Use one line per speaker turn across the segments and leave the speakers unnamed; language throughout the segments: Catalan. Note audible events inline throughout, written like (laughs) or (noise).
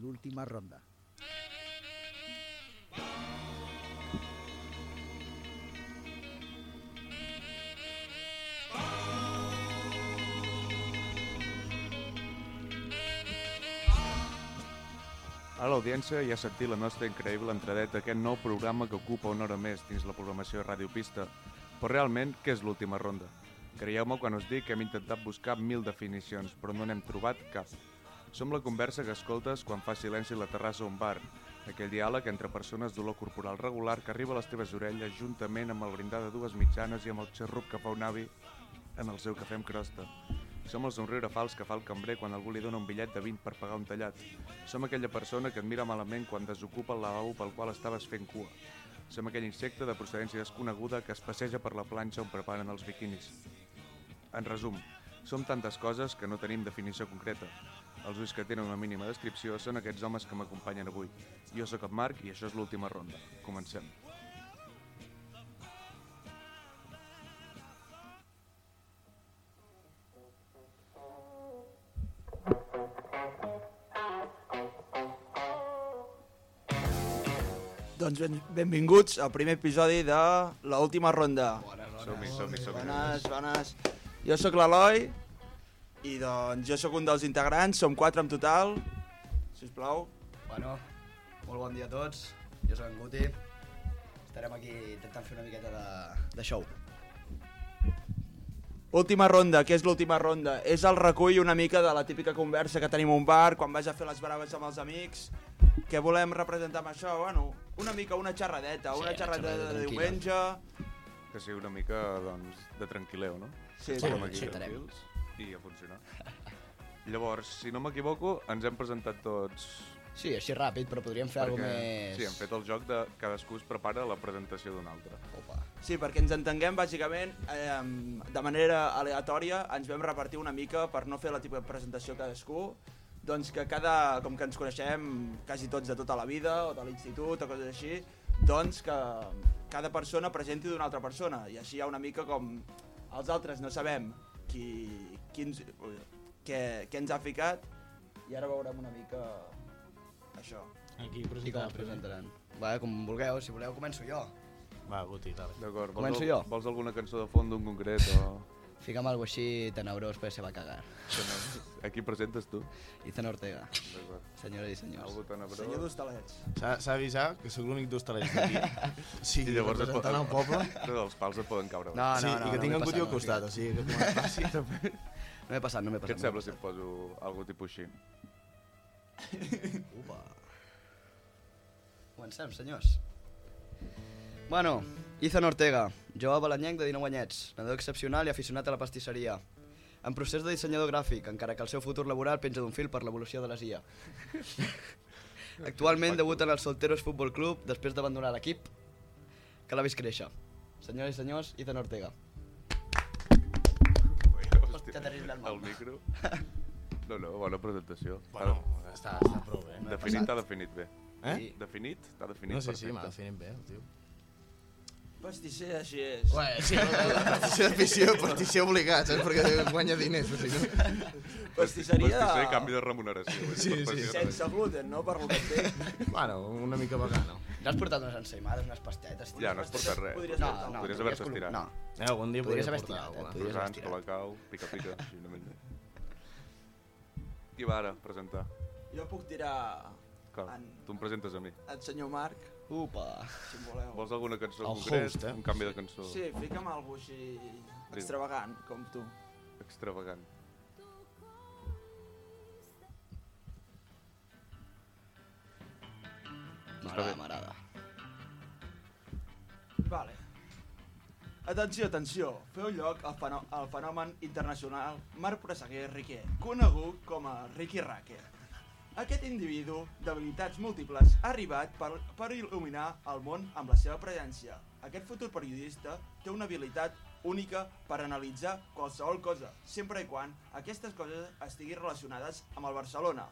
L'última ronda.
A l'audiència ja ha sentit la nostra increïble entradeta aquest nou programa que ocupa una hora més dins la programació de Ràdio Pista. Però realment, què és l'última ronda? Creieu-me quan us dic que hem intentat buscar mil definicions, però no n'hem trobat cap. Som la conversa que escoltes quan fa silenci la terrassa d'un bar, aquell diàleg entre persones d'olor corporal regular que arriba a les teves orelles juntament amb el brindar de dues mitjanes i amb el xerrup que fa un avi en el seu cafè amb crosta. Som el somriure fals que fa el cambrer quan algú li dona un bitllet de 20 per pagar un tallat. Som aquella persona que et mira malament quan desocupa el lavabo pel qual estaves fent cua. Som aquell insecte de procedència desconeguda que es passeja per la planxa on preparen els biquinis. En resum, som tantes coses que no tenim definició concreta. Els ulls que tenen una mínima descripció són aquests homes que m'acompanyen avui. Jo sóc en Marc i això és l'última ronda. Comencem.
Doncs ben, benvinguts al primer episodi de l'última ronda.
Som-hi, som-hi, som-hi.
Bones, bones. Jo sóc l'Eloi i doncs jo sóc un dels integrants, som quatre en total, si us plau.
Bueno, molt bon dia a tots. Jo sóc en Guti. Estarem aquí intentant fer una miqueta de, de show.
Última ronda, què és l'última ronda? És el recull una mica de la típica conversa que tenim a un bar quan vas a fer les braves amb els amics. Què volem representar amb això? Bueno, una mica una xerradeta,
Sí,
una
una
xerradeta
xerradeta
de
tranquil·la.
diumenge...
Que sigui una mica, doncs, de tranquil·leu, no?
Sí,
Sí,
Estem aquí
sí.
tranquils i a funcionar. (laughs) Llavors, si no m'equivoco, ens hem presentat tots...
Sí, així ràpid, però podríem fer alguna cosa més...
Sí, hem fet el joc de cadascú es prepara la presentació d'un altre.
Opa.
Sí, perquè ens entenguem, bàsicament, eh, de manera aleatòria, ens vam repartir una mica per no fer la tipus de presentació cadascú, doncs que cada, com que ens coneixem quasi tots de tota la vida, o de l'institut, o coses així, doncs que cada persona presenti d'una altra persona, i així hi ha una mica com els altres no sabem qui, qui ens, ui, què, què ens ha ficat, i ara veurem una mica això.
Aquí
I com
presentar.
es presentaran? Va, com vulgueu, si voleu començo jo.
Va, Guti, dale.
D'acord, vols,
Començo jo?
vols alguna cançó de fons d'un concret o...
Fica'm alguna cosa així tenebrós, perquè se va cagar.
Aquí presentes tu.
Ethan Ortega,
D'acord.
senyores i senyors.
Algo tan a
Senyor
prou.
d'Hostalets.
S'ha s'ha d'avisar que sóc l'únic d'hostalet d'aquí. (laughs) O
I
sigui,
llavors et pot...
representant el poble...
(laughs) Però els pals et poden caure.
No, no,
sí,
no, no,
i que tinc
m'he
el
passat,
Guti al
no,
costat, o sigui, que (laughs) quan passi també...
No m'he passat, no m'he
Què
passat.
et
no
sembla
m'he
si et poso algo tipus així?
Upa. Comencem, senyors. Bueno, Ethan Ortega, jove balanyenc de 19 anyets, nadador excepcional i aficionat a la pastisseria. En procés de dissenyador gràfic, encara que el seu futur laboral penja d'un fil per l'evolució de
(laughs)
les IA. Actualment debuta en el Solteros Futbol Club després d'abandonar l'equip que l'ha vist créixer. Senyores i senyors, Ethan Ortega.
Hòstia,
terrible el
el
món.
micro. No, no, bona presentació.
Bueno, està, està prou bé.
Definit t'ha definit bé.
Eh?
Sí.
Definit? T'ha definit
No, sí,
perfecte.
sí, m'ha definit bé, el tio.
Pastisser, així és.
Bé, sí,
Partició d'afició, partició obligat, saps? Perquè guanya diners, o sigui... no?
Pastisseria...
Pastisser, canvi de remuneració. eh?
Sí,
Per
sí.
pastisser.
Sense gluten, no? Per lo que
(laughs)
entenc.
(laughs) Bueno, una mica vegano.
N'has portat unes ensaïmades, unes pastetes? tio?
Ja, no has portat res.
Podries
No,
portar-ne.
no.
Podries
no,
haver-se
col-
estirat.
No,
Eh, algun dia
Podries
podria
haver
portar
estirat, eh,
alguna.
podries-
Rosans,
estirat.
colacau, pica-pica. així una mica. Qui va ara presentar?
Jo puc tirar
Cal.
En-
Tu em presentes a mi.
al senyor Marc,
Upa.
si em voleu.
Vols alguna cançó
El
en concret?
host, eh?
Un canvi de cançó
Sí, fica'm algú així extravagant, com tu.
extravagant.
M'agrada, m'agrada.
Vale. Atenció, atenció. Feu lloc al, fenò al fenomen internacional Marc Presseguer Riquer, conegut com a Ricky Racker. Aquest individu d'habilitats múltiples ha arribat per, per il·luminar el món amb la seva presència. Aquest futur periodista té una habilitat única per analitzar qualsevol cosa, sempre i quan aquestes coses estiguin relacionades amb el Barcelona.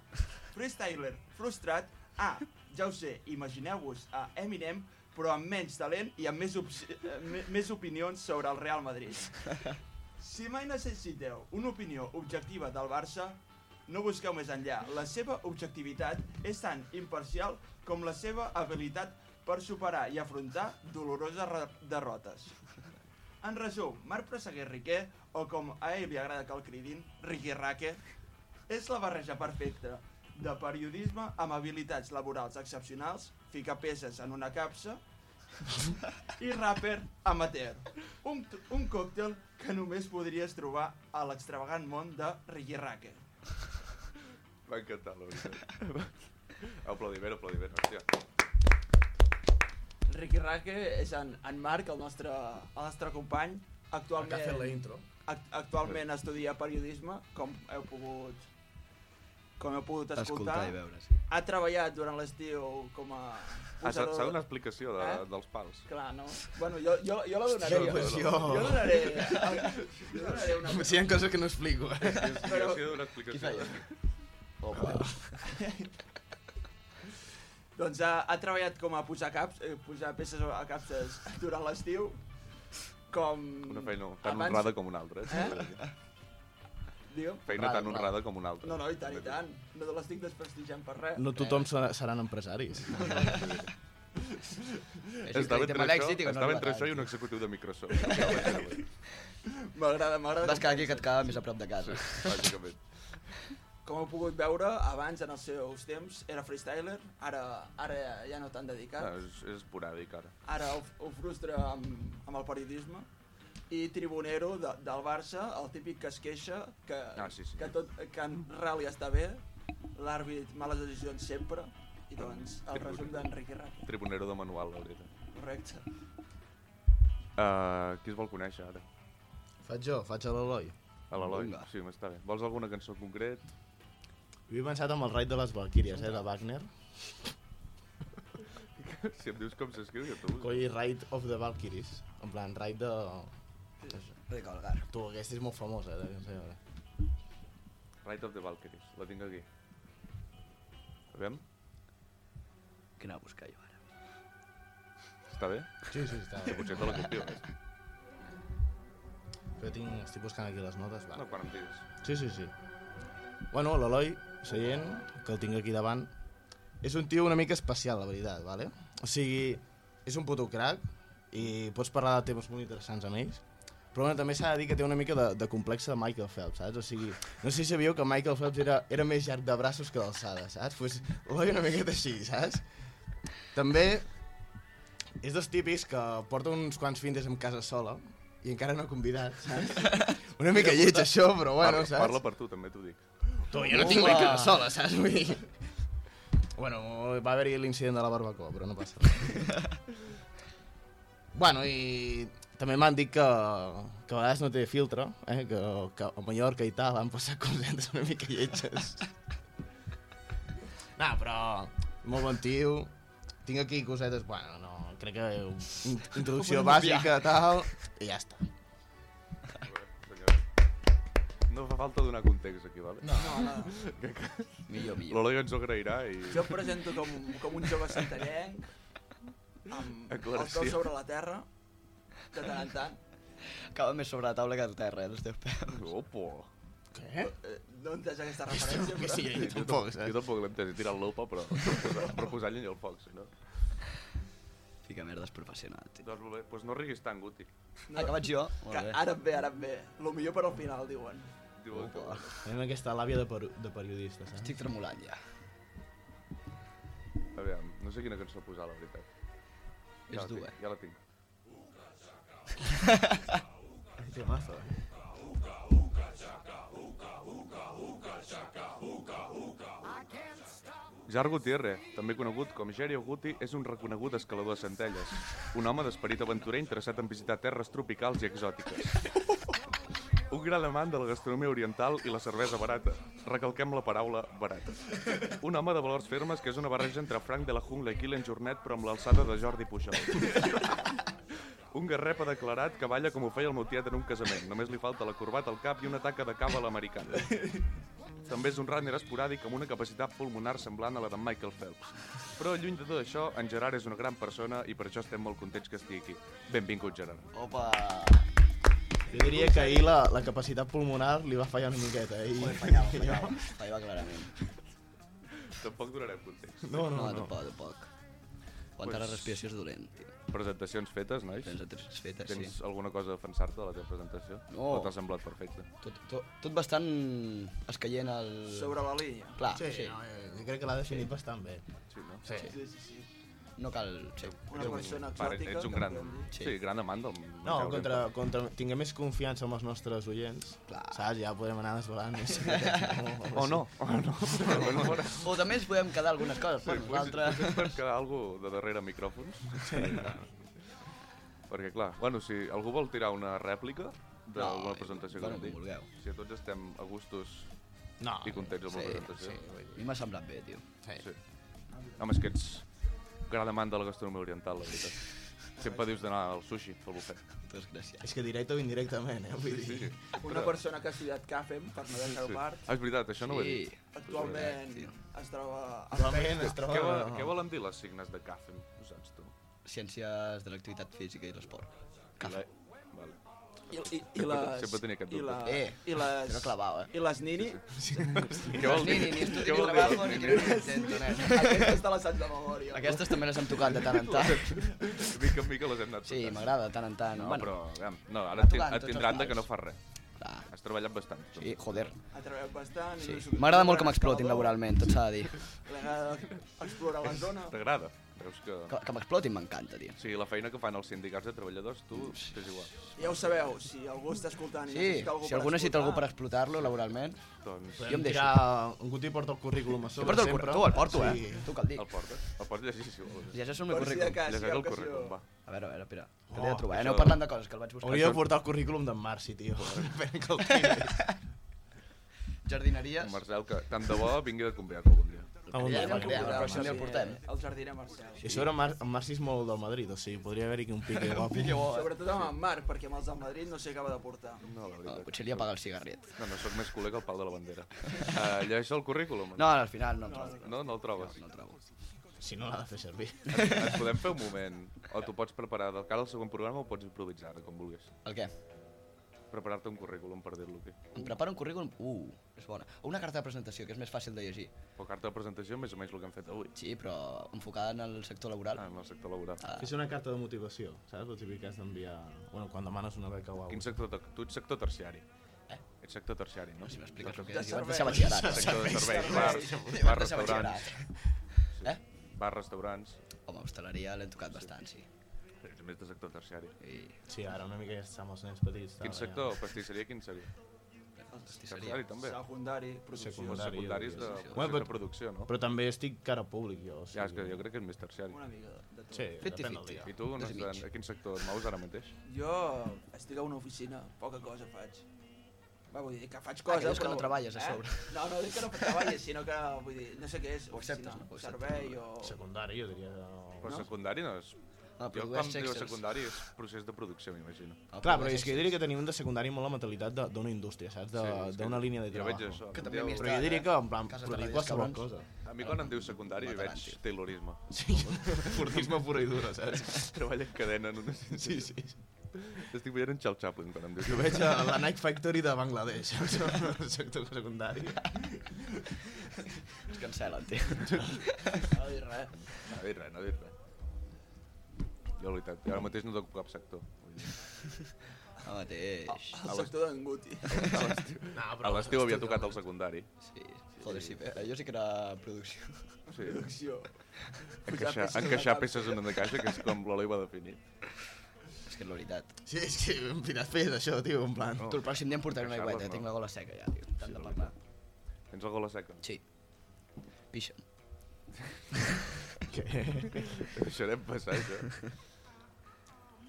Freestyler frustrat Ah, ja ho sé, imagineu-vos a Eminem, però amb menys talent i amb més, obs- eh, me- més opinions sobre el Real Madrid. Si mai necessiteu una opinió objectiva del Barça, no busqueu més enllà. La seva objectivitat és tan imparcial com la seva habilitat per superar i afrontar doloroses re- derrotes. En resum, Marc Presseguer Riquer, o com a ell li agrada que el cridin, Riquer Raque, és la barreja perfecta de periodisme amb habilitats laborals excepcionals, ficar peces en una (laughs) capsa i rapper amateur. Un, t- un còctel que només podries trobar a l'extravagant món de Ricky Racker.
M'ha encantat, la (laughs) veritat. aplaudiment, aplaudiment, hòstia.
Ricky Racker és en, en Marc, el nostre, el nostre company.
Que ha fet la
Actualment,
intro.
act actualment estudia periodisme, com heu pogut com heu pogut escoltar.
Escoltar i veure, sí.
Ha treballat durant l'estiu com a...
Ah, s'ha s'ha
posador-
donat explicació de,
Eh?
dels pals.
Clar, no. (laughs) Bueno, jo, jo, jo la donaré.
Hòstia,
jo,
pues
jo,
jo.
donaré. eh, Jo donaré una...
Si hi ha coses que no explico, eh?
Però... Sí, d'una explicació.
Opa.
Doncs ha, ha treballat com a posar caps, eh, posar peces a capses durant l'estiu, com...
Una feina tan
abans-
honrada com una altra.
Eh?
Eh?
Digue'm.
Feina tan
Honrada,
honrada com una altra.
No, no, i tant, i tant. No l'estic desprestigiant per res.
No tothom serà, seran empresaris.
Estava entre, això,
i que no
estava
arribarà.
entre això i un executiu de Microsoft. bàsicament.
M'agrada, m'agrada.
Vas quedar aquí que et quedava més a prop de casa.
Sí, bàsicament.
Com heu pogut veure, abans, en els seus temps, era freestyler, ara, ara ja no tan dedicat.
Ah, és, és esporàdic, ara.
ara ho, ho frustra amb, amb el periodisme i Tribunero de, del Barça, el típic que es queixa que,
Ah, sí, sí.
que, tot, que en real ja està bé l'àrbit males decisions sempre i doncs el
Tribunero.
resum d'Enrique Raque
Tribunero de manual, la veritat.
correcte
Uh, qui es vol conèixer, ara?
Faig jo, faig a l'Eloi.
A l'Eloi?
Vinga.
Sí, m'està bé. Vols alguna cançó en concret? (laughs)
Havia pensat amb el raid de les Valkyries, eh, de Wagner.
Si em dius com s'escriu, jo t'ho busco.
Coi, raid of the Valkyries. En plan, raid de...
Recalgar.
Tu, aquesta és molt famosa, eh, de veure.
Right of the Valkyries, la tinc aquí. A veure,
Que anava a buscar jo ara.
està bé?
Sí, sí, està
Que
bé.
potser te la copio. eh?
Jo tinc, estic buscant aquí les notes, va.
No, quan em diguis.
Sí, sí, sí. Bueno, l'Eloi, seient, que el tinc aquí davant, és un tio una mica especial, la veritat, vale? O sigui, és un puto crac i pots parlar de temes molt interessants amb ells, però bueno, també s'ha de dir que té una mica de, de complex de Michael Phelps, saps? O sigui, no sé si sabíeu que Michael Phelps era, era més llarg de braços que d'alçada, saps? Pues, l'Eloi una miqueta així, saps? També és dels típics que porta uns quants findes amb casa sola i encara no ha convidat, saps? Una mica lleig això, però bueno,
parla,
saps?
parla per tu, també t'ho dic.
Tu, jo no tinc la cara sola, saps? Vull dir... Bueno, va haver-hi l'incident de la barbacoa, però no passa res. (laughs) bueno, i també m'han dit que, que a vegades no té filtre, eh? que, que a Mallorca i tal han passat (laughs) cosetes una mica lletges. no, però molt bon tio. Tinc aquí cosetes, bueno, no, crec que in- introducció bàsica, tal, i ja està.
Senyor. No fa falta donar context aquí, vale? No.
no, no.
Millor, millor.
L'Eloi ens ho agrairà i...
jo em presento com, com un jove santallenc amb el
Aclaració.
cos sobre la terra de tant en tant
Acaba més sobre la taula que el terra, eh, els teus peus.
Opo!
Què?
Eh, no entens aquesta referència però...
Sí, jo
Eh?
Tampoc,
tampoc,
jo
saps?
tampoc l'he entès, he tirat l'opa, però (laughs) per- per posar llenya al foc, si no.
Fica merdes professional, tio.
Doncs molt bé, doncs no riguis tant, Guti.
No. Acabat jo.
que
Molt bé.
ara em ve, ara em ve lo millor per al final diuen
Diu el que...
Opa.
Tenim aquesta làbia de, per de periodista, saps?
Estic tremolant ja.
Aviam, no sé quina cançó posar, la veritat.
És
la
dur,
tinc,
eh?
Ja la tinc.
Temazo, eh?
Jar Gutiérrez, també conegut com Gerio Guti, és un reconegut escalador de centelles, un home d'esperit aventurer interessat en visitar terres tropicals i exòtiques. Un gran amant de la gastronomia oriental i la cervesa barata. Recalquem la paraula barata. Un home de valors fermes que és una barreja entre Frank de la Jungla i Kylian Jornet però amb l'alçada de Jordi Pujol. Un garrep ha declarat que balla com ho feia el meu tiet en un casament. Només li falta la corbata al cap i una taca de cava a l'americana. també és un runner esporàdic amb una capacitat pulmonar semblant a la de Michael Phelps. Però lluny de tot això, en Gerard és una gran persona i per això estem molt contents que estigui aquí. Benvingut, Gerard.
Opa!
Jo diria que ahir la, la capacitat pulmonar li va fallar una miqueta. I...
(laughs) Fallava, fallava, fallava clarament.
Tampoc donarem context.
No, no,
No,
no.
tampoc, tampoc. Aguantar la respiració és dolent, tio.
Presentacions fetes, nois?
Tens altres fetes, sí.
Tens alguna cosa a defensar-te de la teva presentació?
No.
O t'ha semblat perfecte?
Tot, tot, tot bastant escaient al...
Sobre la línia.
Clar,
Sí,
sí. sí.
no, eh, jo crec que l'ha definit bastant bé.
Sí, no?
Sí.
Sí, sí, sí.
No cal... Sí.
Una persona
Pare,
exòtica.
ets un
que
gran,
podem dir.
sí.
Sí.
gran amant del...
No,
del
contra,
Jordan.
contra, tinguem més confiança amb els nostres oients,
Clar.
saps? Ja podem anar desvelant més. secrets,
O no, o no. o no.
O també ens podem quedar algunes coses per
Sí,
nosaltres.
potser pot quedar algú de darrere micròfons. Sí. Perquè, clar, bueno, si algú vol tirar una rèplica d'alguna
No,
presentació
bueno, com
que vam dir,
vulgueu. Ah,
si tots estem a gustos
No,
i contents amb la
sí,
presentació.
A mi m'ha semblat bé, tio.
Sí. Home, és que ets gran amant de la gastronomia oriental, la veritat. Sempre dius d'anar al sushi, al bufet.
Doncs gràcies.
És que directe o indirectament, eh? Vull dir... Sí.
Una persona que ha estudiat CAFEM, per no deixar-ho
Sí.
part,
Ah, és veritat, això no ho he dit.
actualment
Sí, tio.
es troba... a la
Realment es troba...
Què, vo
no.
què volen dir les signes de CAFEM? Ho saps tu?
Ciències de l'activitat física i l'esport.
Vale. Vale.
I, i, i
Sempre-
les,
sempre tenia aquest
i, la,
dubte.
Eh,
i les,
Te l'ho clavava, eh?
i les Nini,
Què vol dir?
Ni, ni, ni
Què
estudi, ni
vol dir?
trabajo, ni ni intento, nen.
aquestes te les saps de memòria.
Aquestes també les hem tocat de tant en tant.
De mica en mica les hem anat
Sí,
tocant.
m'agrada de tant en tant.
No,
bueno,
però, aviam, no,
va
ara et, tin-
tocant
et
tots els
tindran de que no
mals.
fa res.
clar,
Has treballat bastant. tu.
sí, joder.
Ha treballat bastant.
Sí.
és un-
M'agrada
un
molt
gran
que m'explotin
escalador.
laboralment, tot s'ha de dir.
Li agrada explorar la zona.
T'agrada? Veus que...
Que, que m'explotin m'encanta, tio.
Sí, la feina que fan els sindicats de treballadors, tu t'és igual.
Ja ho sabeu, si algú està escoltant i
Sí,
necessita algú
si algú necessita algú per
escoltar,
explotar-lo laboralment,
Doncs
Jo em deixo.
Tirar... Un Guti porta el currículum a
jo
sobre
porto el,
sempre.
cor- tu el porto,
Sí.
eh? Tu que el dic.
el portes. El pots llegir, si vols.
Ja és el meu
Per si de
currículum.
cas.
Llegeix
hi ha
el
ocasió.
currículum, va.
A veure, a veure, espera. Que
Oh,
l'he de trobar, eh?
això-
Aneu parlant de coses, que el vaig buscar.
Hauria de portar el currículum d'en Marci, tio. que el tiris.
Jardineries.
En Marcel, que tant de bo vingui de convidat algun dia.
A on
Ja,
va,
ja, ja,
va,
ja,
va,
ja,
va.
ja. el portem.
El jardiner Marcel.
I a sobre en, Mar en Marci és molt del Madrid, o sigui, podria haver-hi aquí un pique guapo.
Sobretot amb en Marc, perquè amb els del Madrid no s'hi acaba de portar.
No, la
No,
veritat.
Oh, potser li apaga el cigarret.
No, no, sóc més culer que el pal de la bandera. Uh, llegeix el currículum.
No, al final no el trobo.
No, no el trobes.
No el trobo.
Si no l'ha de fer (laughs) servir.
Et, et podem fer un moment. O t'ho pots preparar de cara al següent programa o pots improvisar, com vulguis.
El què?
Preparar-te un currículum per dir-lo aquí.
Em preparo un currículum? Uh, és bona. O una carta de presentació, que és més fàcil de llegir.
O carta de presentació, més o menys el que hem fet avui.
Sí, però enfocada en el sector laboral.
Ah, en el sector laboral.
Ah.
És una carta de motivació, saps? El típic que has d'enviar... Bueno, quan demanes una beca guau.
Quin sector? te- Tu ets sector terciari. Ets sector terciari, no?
Eh? Si m'expliques el que és,
De
jo vaig deixar
serveis.
batxillerat.
Sector de serveis,
Sí, vaig
bars, bars,
deixar
restaurants.
batxillerat.
Sí.
Eh?
Bars, restaurants.
Home, hostaleria l'hem tocat bastant, sí.
Ets més de sector terciari.
I
Sí, ara una mica ja està amb els nens petits. tal,
Quin
ja.
sector? Pastisseria, quin seria?
pastisseria.
Secundari, també.
Secundari, producció,
Secundari.
Secundaris de,
Bueno,
bueno,
però-
de producció, no?
Però també estic cara a públic, jo. O sigui...
Ja, és que jo crec que és més terciari.
una mica de tot.
Sí, depèn del
50-50.
dia.
I tu, on
Dos i
estan,
mig.
a quin sector et mous ara mateix?
Jo estic a una oficina, poca cosa faig. Va, vull dir que faig
Ah, que
coses, Eh?
dius que no treballes, a sobre.
No, no dic que no treballes, sinó que, vull dir, no sé què és,
Ho acceptes,
oficina,
no? Ho acceptes,
servei
no?
o...
Secundari, jo diria... que
Però
No.
secundari no és...
Ah,
Jo
produeix
quan diu
sexes.
secundari és procés de producció, m'imagino.
Ah,
Clar, però
produeix
és que jo
sexes.
diria que tenim de secundari molt la mentalitat de- d'una indústria, saps? De-
és que
D'una línia de
Jo
treball.
veig això.
Que
em
també
dieu-
m'hi eh?
Però jo diria que, en plan,
Casa Tarradellas,
produir qualsevol
cabrons.
(laughs)
cosa.
A mi quan em diu secundari
Mataran,
veig
tio.
taylorisme.
Sí, fordisme pura i dura, saps?
Treballa en cadena en una... Sí, sí. Estic veient en Charles Chaplin quan em diu
Jo
que
veig a la Nike Factory de Bangladesh, (laughs) saps? El sector secundari.
Ens cancel·len, tio.
No dic res.
No ha dit res, no ha dit res. Jo, la veritat, jo ara mateix no toco cap sector. Vull dir,
Ah,
Ara mateix.
El sector d'en Guti.
Ah,
A l'estiu-
No,
a l'estiu havia tocat el secundari.
Sí. Joder, sí, eh, jo sí que era producció.
Sí.
Producció.
Encaixar, encaixar peces en una caixa, que és com l'Eloi va definir.
(laughs) És que és la veritat.
Sí, és que em diràs fes això, tio, en plan...
Oh.
Tu el pròxim dia em portaré una
Encaixar-les,
aigüeta,
no.
tinc la gola seca ja, tio. Tant de
la
parlar.
Tens el gol a seca.
Sí. Pixa.
Que...
Deixarem passar això.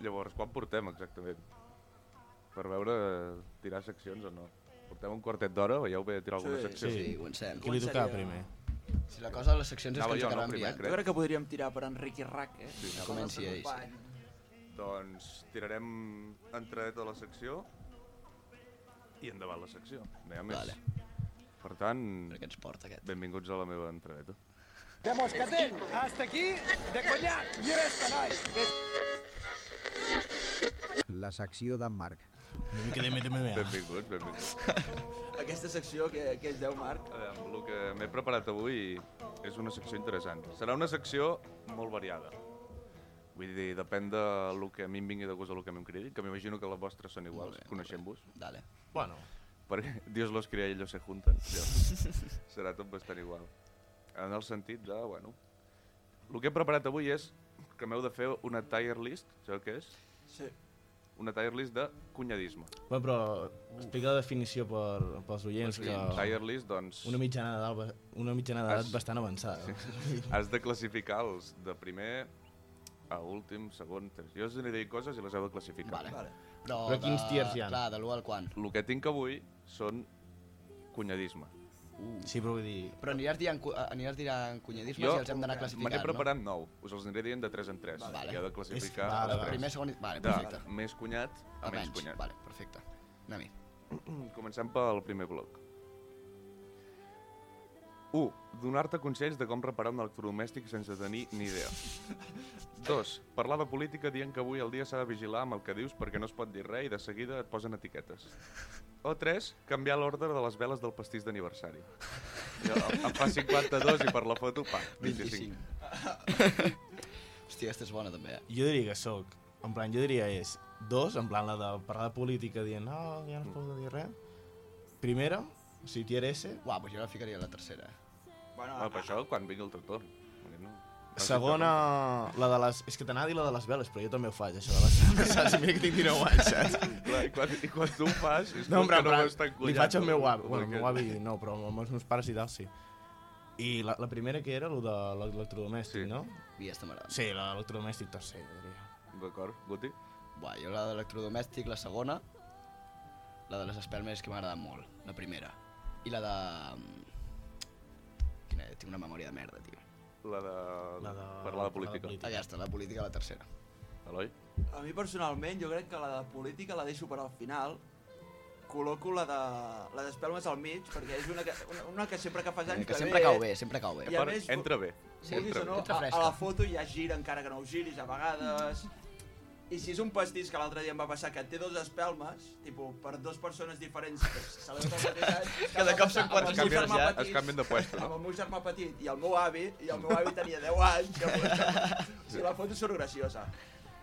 Llavors, quan portem exactament? Per veure eh, tirar seccions o no? Portem un quartet d'hora, veieu bé tirar alguna
Sí,
secció?
Sí.
Sí, comencem.
Qui li
Començaria-
tocava primer?
Si la cosa de les seccions és
Anava
que ens
jo, no,
acabaran
primer,
enviant.
Jo crec que podríem tirar per Enric i Rac, eh?
Sí,
que
El
comenci
nostre
ell, sí.
company.
Doncs tirarem entradeta a la secció i endavant la secció. No hi ha més.
Vale.
Per tant,
Per què ens porta aquest?
benvinguts a la meva entradeta.
De Moscatell, hasta aquí, de Conyac, i resta, nois.
La secció d'en Marc.
Una mica de MMA.
Benvinguts, benvinguts.
Aquesta secció que, que es deu, Marc.
A veure, amb el que m'he preparat avui és una secció interessant. Serà una secció molt variada. Vull dir, depèn de el que a mi em vingui de gust o el que a mi em cridi, que m'imagino que les vostres són iguals, coneixent-vos.
Dale.
Bueno,
Perquè (laughs) Dios los crea i ellos se junten. Llavors,
(laughs)
serà tot bastant igual. En el sentit de, bueno... El que he preparat avui és que m'heu de fer una tier list, sabeu què és?
Sí.
Una tier list de cunyadisme.
bueno però explica la definició per, pels oients que...
Tier list, doncs...
Una mitjana d'edat una mitjana
Es-
d'edat bastant avançada. Sí.
Has de classificar els de primer a últim, segon, tercer. Jo us aniré coses i les heu de classificar.
Vale.
Vale.
Però,
Però quins tiers hi ha?
Clar, de l'1 al quant.
El que tinc avui són cunyadisme. Uh.
Sí, però vull dir...
Però aniràs dient, cu- eh, aniràs dient cunyadisme si els hem d'anar
me n'he
classificant,
preparat nou. Us els aniré dient de 3 en 3.
Vale.
I heu de classificar
És-
no?
els
vale,
El
vale.
tres.
primer, segon... i- Vale,
de
perfecte.
més cunyat a,
A
menys
menys.
cunyat. Mm,
Vale, perfecte. Anem-hi.
Comencem pel primer bloc. 1. Donar-te consells de com reparar un electrodomèstic sense tenir ni idea. 2. Parlar de política dient que avui el dia s'ha de vigilar amb el que dius perquè no es pot dir res i de seguida et posen etiquetes. O 3. Canviar l'ordre de les veles del pastís d'aniversari. Jo, Em em fa 52 i per la foto, pa, 25.
25. (laughs) Hòstia, aquesta és bona, també, eh?
Jo diria que sóc, en plan, jo diria és dos, en plan la de parlar de política dient no, ja no es pot dir res. Primera, o sigui, tier S.
Uau, doncs jo la ficaria a la tercera.
Bueno,
Ah, per això, quan vingui el teu torn. Perquè No.
Segona, la de les... És que t'anava a dir la de les veles, però jo també ho faig, això de les (laughs) veles, saps? Mira que tinc 19 anys, saps?
Clar, I quan, i quan tu ho fas, és
No,
com
en plan,
que no
plan,
m'has tan
li
collat,
faig al
no?
meu avi. Bueno,
Perquè-
al meu avi no, però amb els meus pares i tal, sí. I la, la primera que era, el de l'electrodomèstic,
Sí.
no?
I aquesta m'agrada.
Sí, la de l'electrodomèstic tercer, jo diria.
D'acord, Guti?
Uau, jo la de l'electrodomèstic, la segona. La de les espelmes que m'ha agradat molt, la primera. I la de... mm, Quina, tinc una memòria de merda, tio.
La de...
La de-
Parlar de
la de
política.
política.
Aquesta, la política, la tercera.
Eloi?
A mi personalment jo crec que la de política la deixo per al final col·loco la de les espelmes al mig perquè és una que, una, una que sempre que fas anys
Eh, Que sempre cau bé, sempre cau bé.
I a
Per...
més-
Entra bé.
Sí, o no,
Entra
a,
fresca.
a la foto ja gira encara que no ho giris a vegades i si és un pastís que l'altre dia em va passar que té dos espelmes, tipus, per dues persones diferents que celebren el mateix any, que
de cop són quatre
Es canvien, es canvien de puesto,
amb (laughs)
no?
el meu germà petit i el meu avi, i el meu avi tenia 10 anys, i el meu germà...
(laughs)
o sigui, la foto surt graciosa.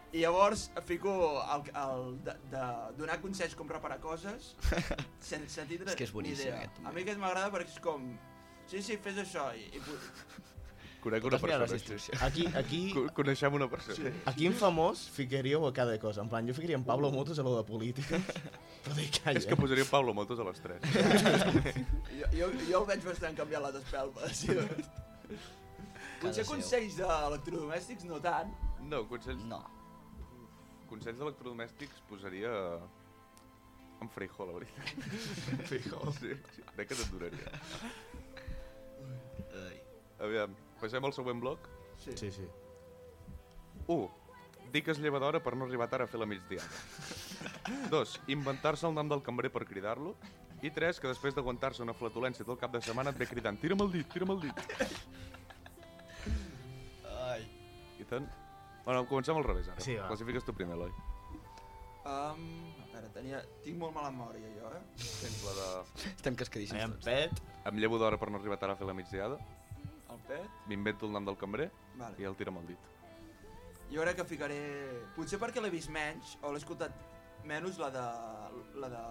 I llavors fico el, el de, de donar consells com reparar
(laughs)
coses sense tindre
És que és boníssim,
ni idea.
aquest, també.
A mi aquest m'agrada perquè és com... Sí, sí, fes això i, i pu-
Conec una
T'has mirat les
persona. sí.
instruccions.
Aquí, aquí,
Co- Coneixem una persona.
Aquí en famós ficaríeu a cada cosa. En plan, jo ficaria en Pablo Motos a lo de política. Però de
(laughs)
calla. eh?
És que posaria Pablo Motos a les
(laughs)
3.
Jo, jo, jo el veig bastant canviat les espelmes. (laughs) Sí. Potser
seu.
consells d'electrodomèstics no tant.
No, consells,
No.
consells d'electrodomèstics posaria... En Feijó, la
(laughs)
veritat. Feijó. Sí, sí. Crec que te'n duraria.
Ai.
Aviam, passem al següent bloc.
Sí.
Sí, sí.
1. Dir que es lleva d'hora per no arribar tard a fer la migdiada. 2. Inventar-se el nom del cambrer per cridar-lo. I 3. Que després d'aguantar-se una flatulència tot el cap de setmana et ve cridant Tira'm el dit, tira'm el dit.
Ai.
I tant... Bueno, comencem al revés, ara.
Sí, va.
Classifiques tu primer, Eloi.
Um, a veure, tenia... tinc molt mala memòria, jo, eh?
Tens la de...
Estem cascadíssims
En
tots.
Pet.
Em llevo d'hora per no arribar tard a fer la migdiada,
El pet.
m'invento el nom del cambrer
Vale.
i el tira amb el dit.
Jo crec que ficaré... Potser perquè l'he vist menys, o l'he escoltat menys, la de... La de...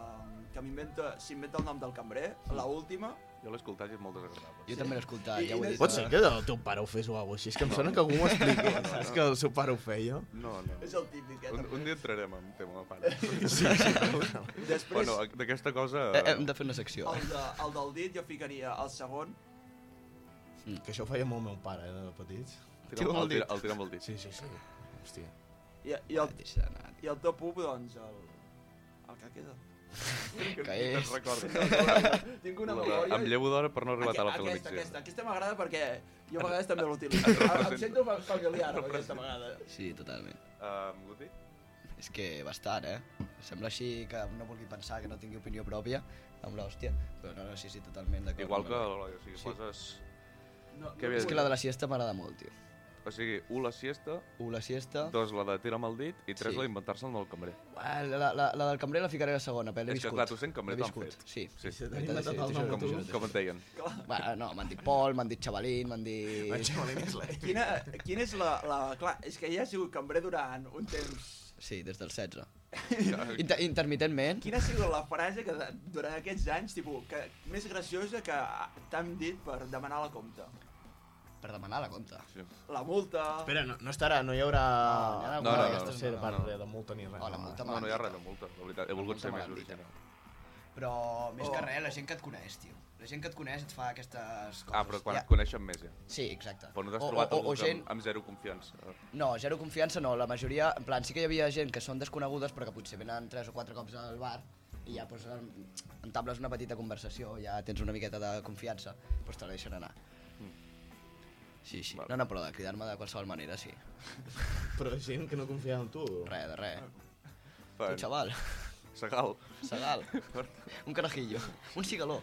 que m'inventa... s'inventa el nom del cambrer, la última.
Jo l'he escoltat i és molt desagradable.
Jo també l'he escoltat,
I-
ja ho
i
he dit.
Pot ser que el teu pare ho fes o alguna cosa així. És que em sona que algú m'ho expliqui. Saps que el seu pare ho feia?
No, no.
És el típic, eh?
Un,
també.
un dia entrarem en tema, pare.
Després,
bueno, d'aquesta cosa...
Eh, hem de fer una secció.
el, de, el del dit jo ficaria el segon.
Que això ho feia molt meu pare, eh, de petits.
Tira amb el dit. El tira amb el dit.
Sí, sí, sí. Hòstia.
I, i, el,
Deixa anar,
I el top 1, doncs, el, el que queda.
tio, que
Te'n
és...
(laughs) recordes?
Tinc una
La de,
memòria...
em llevo d'hora per no arribar
Aqu-
tard a fer la
aquesta,
migdiada.
aquesta, aquesta m'agrada perquè jo a vegades també l'utilitzo. Em- Em
representa.
sento fa- familiar amb aquesta m'agrada.
Sí, totalment.
Uh, Guti?
És que bastant, eh? Sembla així que no vulgui pensar, que no tingui opinió pròpia, amb l'hòstia. Però no, no, sí, sí, totalment d'acord.
Igual
amb
que
el-
l'Eloi, o sigui,
Sí.
poses...
No,
Què havia
És
de
que
dir?
la de la siesta m'agrada molt, tio.
O sigui, 1 Uh, la siesta,
Un, la siesta...
2 la de tira'm el dit i 3
Sí.
la d'inventar-se el del cambrer.
Ah, La, la, la del cambrer la ficaré a la segona, però l'he
És que,
viscut.
clar, tu sent cambrer
L'he
t'han
viscut,
fet.
Sí.
Sí, sí.
La veritat és que
inventat el
sí,
nom
això
Com,
tu.
és
com et deien?
Bueno, no, m'han dit Pol, m'han dit Xavalín, m'han dit...
El Xamalín és la...
Quina, quina és la, la... Clar, és que ja ha sigut cambrer durant un temps.
Sí, des del 16. Inter intermitentment.
Quina ha sigut la frase que de- durant aquests anys, tipus, que més graciosa que t'han dit per demanar la compta?
Per demanar la compta.
Sí.
La multa...
Espera, no, no estarà, no hi haurà...
No, hi haurà
No, no, no,
aquesta
no,
tercera
no,
part
no.
res de multa ni res.
Oh, la multa
No, no hi ha res
maldita.
de multa, la veritat. He volgut ser més
Maldita.
original.
Però més
Oh.
que res, la gent que et coneix, tio. La gent que et coneix et fa aquestes coses.
Ah, però quan
Ja.
et coneixen més, ja.
Sí, exacte.
Però no t'has
O-
trobat
o,
algú
o, o gent...
amb, amb zero confiança.
No, zero confiança no, la majoria... En plan, sí que hi havia gent que són desconegudes però que potser venen tres o quatre cops al bar i ja pues, en- entables una petita conversació, ja tens una miqueta de confiança, doncs te la deixen anar. Sí, sí.
Val.
No, no, però de cridar-me de qualsevol manera, sí.
Però gent que no confia en tu.
Re, de re.
Fan-
Un xaval,
Segal. (laughs)
segal, un carajillo, un cigaló.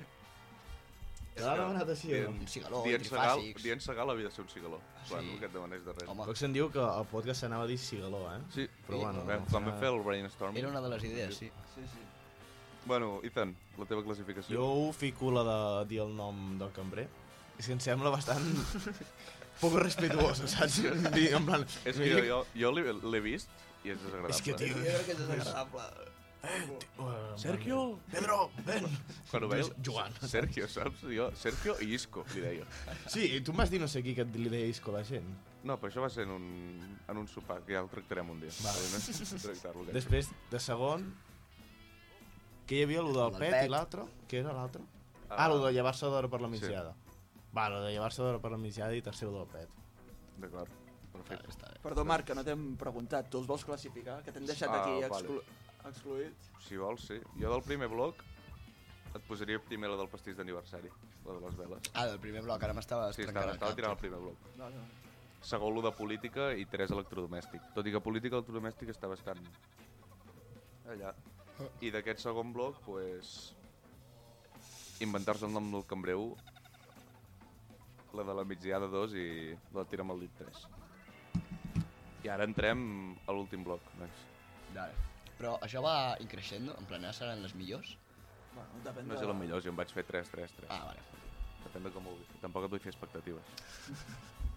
Te l'ha demanat així, o no?
Un cigaló,
Dient Segal,
trifàsics.
dient Segal havia de ser un cigaló. Sí. Bueno, que et demanés de res.
Home,
Cox em diu que el podcast s'anava a dir Cigaló, eh?
Sí,
Però bueno,
Vam,
doncs
quan vam
ja-
fer el brainstorming.
era una de les idees, sí.
Sí, sí.
Bueno, Ethan, la teva classificació.
Jo fico la de dir el nom del cambrer. És que em sembla
(laughs)
bastant... poc respetuosa, saps? Dir, en plan...
(laughs) És que jo, jo, jo l'he- l'he vist i és desagradable. eh?
És que, tio...
Jo crec que és desagradable.
Sergio! Pedro, ven!
Quan ho veus,
Joan.
Sergio, saps? Jo, Sergio i Isco, li deia.
Sí, tu em vas dir no sé qui que et li deia Isco a la gent.
No, però això va ser en un, en un sopar, que ja ho tractarem un dia. Vale. No és tractar-lo. eh? aquest.
Després, de segon... Que hi havia allò del
El del
pet,
pet.
i l'altre? Què era l'altre?
Ah.
Ah, allò de llevar-se d'hora per la migdiada. Va, allò de llevar-se d'hora per la migdiada i tercer del pet.
D'acord. Perfecte.
Està bé.
Perdó, Marc, que no t'hem preguntat. Tu els vols classificar? Que t'hem deixat
Ah,
aquí
vale.
exclu excluït?
Si vols, sí. Jo del primer bloc et posaria primer la del pastís d'aniversari, la de les veles.
Ah, del primer bloc, ara m'estaves
Sí,
trencant
estava,
el
estava
cap.
tirant el primer bloc.
No, no.
Segon, lo de política i tres, electrodomèstic. Tot i que política i electrodomèstic està bastant allà. I d'aquest segon bloc, pues, inventar-se el nom del cambreu, la de la migdiada 2 i la tira'm el dit 3. I ara entrem a l'últim bloc, nois.
Dale. Però això va increixent, en plan, ara seran les millors?
Bueno, depèn
No
de...
sé el millor, jo em vaig fer 3, 3, 3.
Ah, vale.
Depèn de com ho vulguis. Tampoc et vull fer expectatives.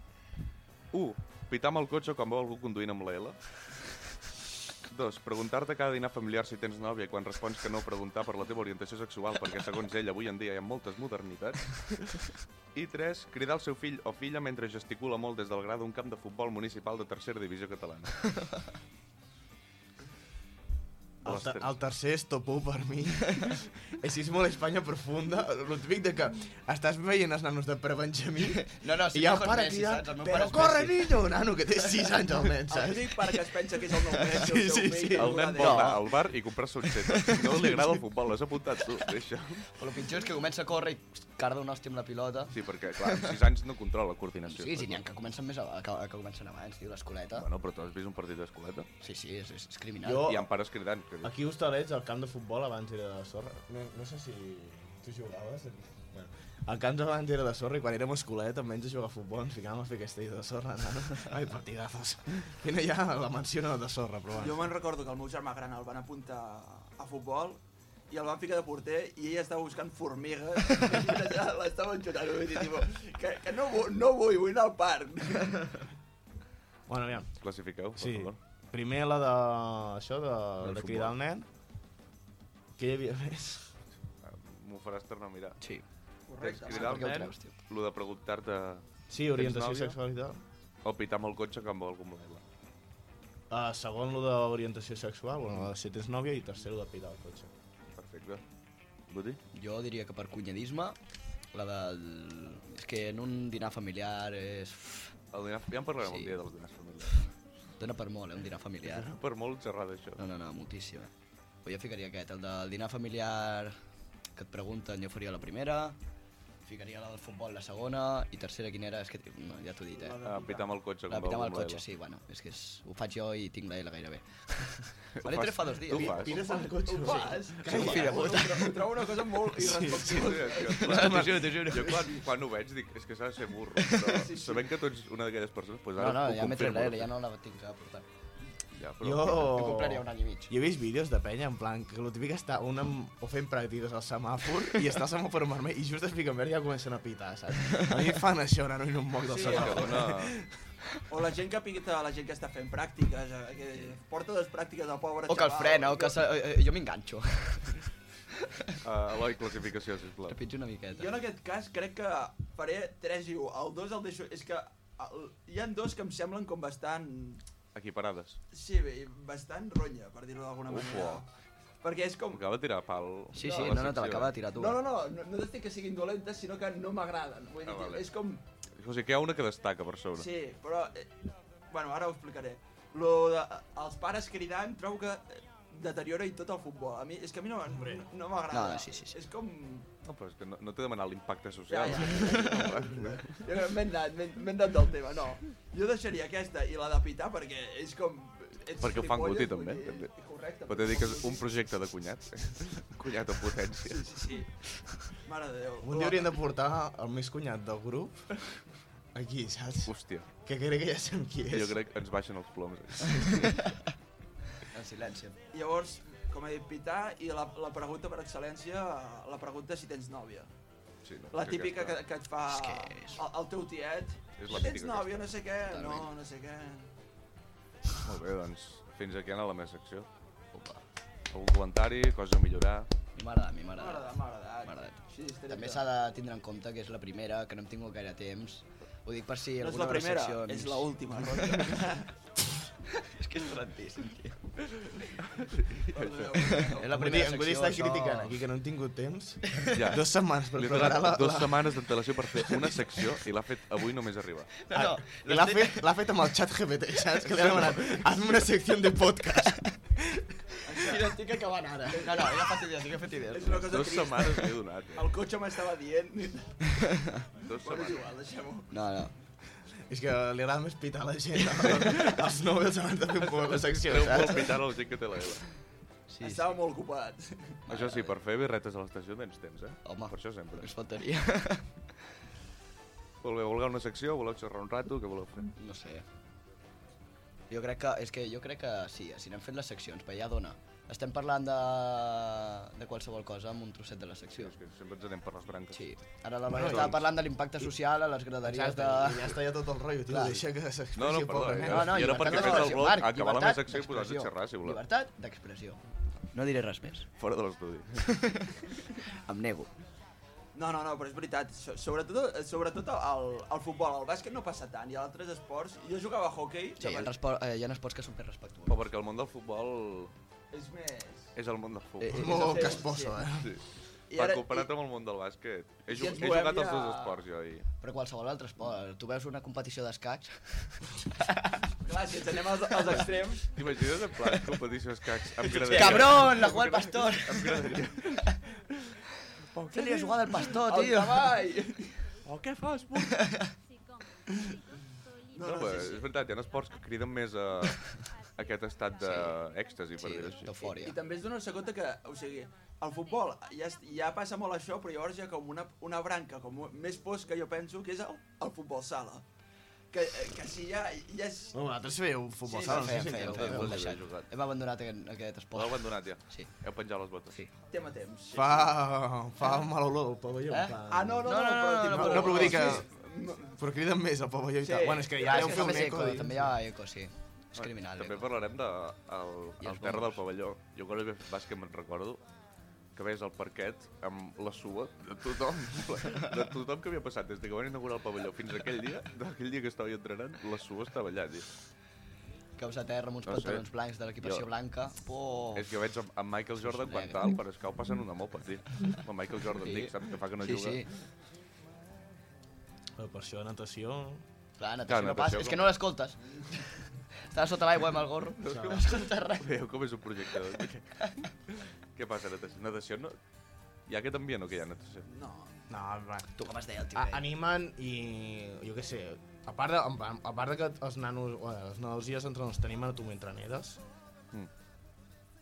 1. Pitar amb el cotxe quan veu algú conduint amb la L. 2. Preguntar-te cada dinar familiar si tens nòvia i quan respons que no preguntar per la teva orientació sexual perquè segons ell avui en dia hi ha moltes modernitats. I 3. Cridar el seu fill o filla mentre gesticula molt des del gra d'un camp de futbol municipal de tercera divisió catalana.
El,
Les
ter
tres.
el tercer és top 1 per (laughs) mi. Així és molt Espanya profunda. El típic de que estàs veient els nanos de prebenjamí
No, no,
i hi ha un pare Ah, tirant... Però corre, niño! Un nano que té 6 anys al nen,
El
saps?
típic pare que es pensa que és el nou nen, que
Sí,
el seu
sí,
fill,
sí.
que
El nen
jugarà
vol
a
anar al bar i comprar-se un xeta. No li agrada el futbol, l'has apuntat tu, deixa'm.
Però el pitjor és que comença a córrer i carda un hòstia amb la pilota.
Sí, perquè, clar, amb 6 anys no controla la
Ah,
coordinació.
Sí, sí, n'hi ha que comencen més a, que, que comencen abans, tio, l'escoleta.
Bueno, però tu has vist un partit d'escoleta?
Sí, sí, és, és, és criminal.
Jo-
I amb pares cridant. Que... dius,
Aquí a Hostalets, el camp de futbol abans era de sorra. No, no sé si tu jugaves. Bueno, el camp abans era de sorra i quan érem a escolet, almenys a jugar a futbol, ens ficàvem a fer castells de sorra. Nano. Ai, partidazos. Que no hi ha la menció no de sorra, però
Jo
bueno.
me'n recordo que el meu germà gran el van apuntar a futbol i el van ficar de porter i ell estava buscant formigues
(laughs)
i ja l'estaven xutant. Vull dir, tipo, que, que no, vu- no vull, vull anar al parc.
Bueno, aviam.
Classifiqueu, per
Sí.
favor.
Primer la de... Això, de,
Del
de cridar al
futbol.
nen. Què hi havia més?
Ah, M'ho faràs tornar a mirar.
Sí.
Correcte.
Cridar al
perquè ho
nen,
treus, tio.
lo de preguntar-te
Sí, orientació
nòvia?
sexual i tal.
o pitar amb el cotxe que em vol algú model.
Uh, segon, lo d'orientació sexual, bueno, si tens nòvia, i tercer, lo de pitar el cotxe.
Perfecte. Guti?
Jo diria que per cunyadisme, la del... És que en un dinar familiar és...
El dinar... Ja en parlarem
Sí.
un dia dels dinars familiars.
Dóna per molt, eh, un dinar familiar.
Per molt xerrar d'això.
No, no, no, moltíssim. eh. Però jo ficaria aquest, el del dinar familiar que et pregunten, jo faria la primera. Ficaria la del futbol, la segona, i tercera quina era? És que no, ja t'ho he dit, eh?
Ah, pitar amb el cotxe.
La
com
pita amb el
Bombo
cotxe,
(laughs) Ela.
sí, bueno, és que és, ho faig jo i tinc la L gairebé.
Ho
Vale,
fas-
tres fa dos dies.
Tu ho fas?
Pines al cotxe.
Ho fas?
Sí.
Sóc un fill de puta.
Ho trobo una cosa molt irresponsable.
Sí, és que, clar, Jo quan, quan ho veig dic, és que s'ha de ser burro, però sabent que tu ets una d'aquelles persones, doncs
No,
ara
no,
ho
ja m'he tret
confirmo.
la L, ja no la tinc a portar.
Ja, però...
Jo...
He complert ja un any i mig.
Jo he vist vídeos de penya, en plan, que el típic està un amb... o fent pràctiques al semàfor i està al semàfor vermell i just es fiquen verd i ja comencen a pitar, saps? A mi em fan això, nano, i no em moc del
Sí,
semàfor.
Que una...
O la gent que pita, la gent que està fent pràctiques, eh, que porta dues pràctiques al pobre
O que el
xaval.
frena, o que... Se, eh, eh, jo m'enganxo. (laughs)
Uh, Eloi, classificació, sisplau.
Trepitjo una
Jo
miqueta.
en aquest cas crec que faré 3 i 1. El 2 el deixo... És que el... hi han dos que em semblen com bastant...
Equiparades.
Sí, bé, bastant ronya, per dir-ho d'alguna
Uf,
manera.
uah.
Perquè és com...
Acaba de tirar pal...
Sí, sí,
a la
no, no, te
secció,
l'acaba
eh?
de tirar tu.
No, no, no, no, no dic que siguin dolentes, sinó que no m'agraden. Vull dir,
Ah,
que
vale.
és com...
eh? O sigui, que hi ha una que destaca per sobre.
Sí, però... Eh, bueno, ara ho explicaré. Lo de, els pares cridant trobo que eh, deteriora i tot el futbol. A mi, és que a mi no, no, no m'agrada.
No, no, sí, sí, sí.
És com...
No, però és que no, no t'he demanat l'impacte social.
Ja,
Ja, ja.
Jo M'he anat, m'he m'he anat del tema, no. Jo deixaria aquesta i la de pitar perquè és com... Ets
Perquè ho fan
gilipolles,
guti,
vull
també,
dir,
també.
Correcte.
(laughs) Però t'he dit que és un projecte de cunyat. (laughs) cunyat en potència.
Sí, sí, sí. Mare de Déu.
Un dia hauríem de portar el més cunyat del grup aquí, saps?
Hòstia,
Que crec que ja sabem qui és.
jo crec que ens baixen els
(laughs)
ploms.
En silenci.
Llavors, com he dit, pitar i la, la pregunta per excel·lència, la pregunta si tens nòvia.
Sí, no,
La
crec
típica que,
està.
que et fa
És que és-
el, el teu tiet.
És la
No tens
típica
nòvia, no sé què, no,
Totalment.
no sé què.
Molt bé, doncs, fins aquí anar a la meva secció. Opa. Algun comentari, cosa a
(laughs)
millorar...
Mi m'agrada, mi
M'ha
m'agrada.
agradat, m'ha agradat.
M'ha agradat.
Sí, estricte.
També s'ha de tindre en compte que és la primera, que no hem tingut gaire temps. Ho dic per si
No és
alguna
la
de les
primera,
seccions...
és l'última. ronda.
(laughs) És que és rentíssim, tio.
Perdoneu, perdoneu.
És
La
la
primera
primera
en Gudi
secció,
està
això...
criticant aquí, que no hem tingut temps.
Ja.
Dues setmanes per
Li ha
preparar la...
donat dues
la-
setmanes d'antelació per fer una secció i l'ha fet avui només arribar.
No, no,
Ah, I l'ha fet, l'ha fet amb el xat GPT, saps? Que li ha demanat, hazme una secció de podcast.
I (laughs) l'estic acabant ara. No, no, ja he fet idees, ja he fet idees.
(laughs)
És una cosa
Dues
trista.
setmanes li he donat. Eh?
El cotxe m'estava dient... (laughs)
Dues
Bueno, és
setmanes.
igual, deixem-ho.
No, no.
És que li agrada més pitar a la gent (laughs) els Nobels abans de fer un poc la secció,
Treu molt
saps?
pitar a la gent que té la L.
Sí, sí.
Estava molt ocupat.
Això sí, per fer birretes a l'estació tens temps, eh?
Home.
Per això sempre.
Ens faltaria.
Molt bé, voleu una secció, voleu xerrar un rato, què voleu fer?
No sé. Jo crec que, és que jo crec que sí, si n'hem fet les seccions, però ja dona. Estem parlant de, de qualsevol cosa amb un trosset de la secció.
És que sempre ens anem per les branques.
Sí. Ara la
Bueno,
Maria estava
doncs.
parlant de l'impacte social a les graderies
Exacte,
de...
i ja està ja tot el rotllo, tio,
Clar.
deixa que
No, no,
s'expressi
perdó, eh?
pobre.
No, no, I era
llibertat
perquè he fet el
d'expressió,
blog,
Marc,
acabar la meva
llibertat
secció i posar-se a
d'expressió.
xerrar, si voleu.
Llibertat d'expressió. No diré res més.
Fora de l'estudi.
Em nego.
No, no, no, però és veritat. So- Sobretot, sobretot el, el futbol, el bàsquet no passa tant. I a altres esports... Jo jugava a hockey.
Sí, hi ha,
llavors-
respo eh, hi ha esports que són més respectuosos.
Però perquè el món del futbol
És més...
és el món del
Eh, eh,
futbol.
Molt
Sí,
casposo,
sí.
eh?
Sí.
I
Per
ara-
comparat amb el món del bàsquet. He,
I
jug-
ens
he
movem
jugat als
ja-
dos esports, jo, i...
Però qualsevol altre esport. Tu veus una competició d'escacs...
Clar, si ens anem als, als extrems...
T'imagines en plan competició escacs amb graderia?
Cabrón, la jugada del pastor!
Amb graderia.
Se li ha jugat al pastor,
El
tio!
cavall!
No,
No,
no,
però
sí, sí.
és veritat, hi ha esports que criden més a aquest estat d'èxtasi, per
Sí,
dir-ho així.
I
d'eufòria.
també és donar-se compte que, o sigui, el futbol ja, es- ja passa molt això, però llavors hi ha com una, una branca com més fosca, jo penso, que és el, el futbol sala. Que, que si ja, ja és...
No, vosaltres feu un futbol,
Sí,
sala,
sí,
no
Fem,
sé si
fem,
feu.
fem,
sí,
ho hem
sí,
deixat.
sí, jugat.
Hem abandonat aquest, aquest
L'heu
esport.
abandonat, ja?
Sí.
Heu penjat les botes?
Sí.
Tema temps. Sí.
Fa, fa mala olor el pavelló.
Eh?
fa-
Ah, no, no, no,
No, no, no, no,
No,
però,
no, però vull dir que...
No,
Però criden més el pavelló i
Sí.
tal. Bueno, és que ja
Ah,
heu
és que
fet un
també és
eco.
eco,
dins.
també hi ha eco, sí. És criminal.
També
eco.
parlarem de el,
I
el
els
terra del
bombos.
pavelló. Jo quan vaig fer bàsquet me'n recordo que veies al parquet amb la suba de tothom, (laughs) de tothom que havia passat des que van inaugurar el pavelló fins aquell dia, d'aquell dia que estava jo entrenant, la suba estava allà. Dic.
Caus a terra amb uns
No sé.
pantalons blancs de l'equipació
Jo-
blanca. Oh.
És que veig amb, amb Michael Jordan quan
negre.
tal, però és que ho passen una mopa, tio. Amb Michael Jordan,
Sí.
dic, saps que fa que no
sí,
juga. (laughs)
sí.
Però per això, natació...
Clar,
Clar,
natació no
natació
passa.
com-
És que no l'escoltes. (laughs) Estava sota l'aigua amb el gorro. No escoltes res.
Veieu com és un projecte. doncs, Què passa, natació? Natació no... Hi ha aquest ambient o que hi ha natació?
no.
No, va.
Tu com es deia el tio?
A
aquell?
animen i, jo què sé, a part de, a, a part de que els nanos, o les nanos i els entrenadors t'animen a tu mentre nedes,
Mm.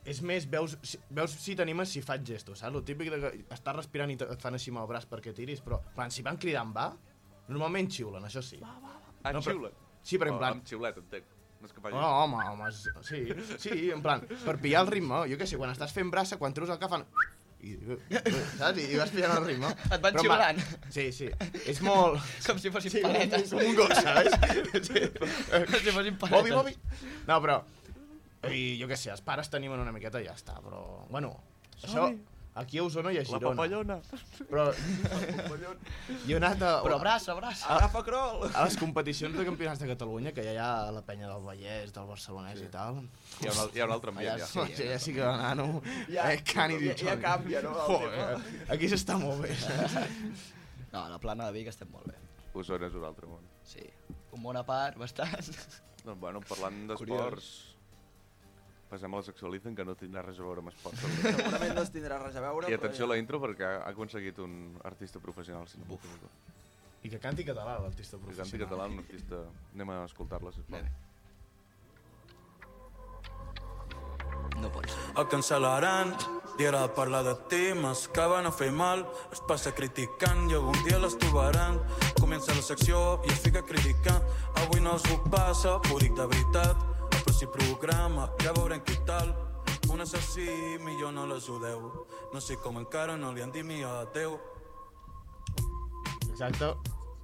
és més, veus, si- veus si t'animes si faig gestos, saps? El típic de que estàs respirant i te- et fan així amb el braç perquè tiris, però quan si van cridant va, normalment xiulen, això sí.
Ah,
No,
no,
però-
xiula.
Sí, però en plan...
Amb xiulet, entenc. No és que faci...
No, home, home, és- sí, sí, en plan, per pillar el ritme, jo què sé, quan estàs fent braça, quan treus el cap fan... I, saps? I, vas pillant el ritme.
Et van
Però en
(laughs)
plan-
xiulant.
Sí, sí. És molt...
Com si fossin
Sí,
paletes.
com un gos, saps? Sí.
Com si fossin paletes.
Bobby, Bobby. No, però... I jo què sé, els pares t'animen una miqueta i ja està, però... Bueno, això... Aquí a Osona i a
La
Girona.
papallona.
Però... Jo he anat a...
Però braç, abraç.
Agafa crol!
A les competicions de campionats de Catalunya, que ja hi ha la penya del Vallès, del Barcelonès sí. i tal...
Hi ha un, al- hi ha un altre ambient,
Allà
ja.
(laughs) sí, allà ja sí que va nano... Ja, eh, Cani
ja- ja canvia, no, el
aquí s'està molt bé.
No, a la plana de Vic estem molt bé.
Osona és un altre món.
Sí. Un món a part, bastant.
Doncs, bueno, parlant d'esports... Passem a la sexualitzen, que no tindrà res a veure amb esports.
Segurament no es tindrà res a veure,
I atenció a
però...
la intro, perquè ha aconseguit un artista professional, si no m'equivoco.
I que canti català, l'artista
És
professional.
anticatalà, un artista... Anem a escoltar-la, sisplau.
No pot ser.
Et cancel·laran, li agrada parlar de temes que van a fer mal. Es passa criticant i algun dia les trobaran. Comença la secció i es fica criticant. Avui no s'ho passa, ho dic de veritat. El pròxim programa, ja veurem què tal. Un assassí millor no l'ajudeu. No sé com encara no li han dit mi adeu.
Exacte.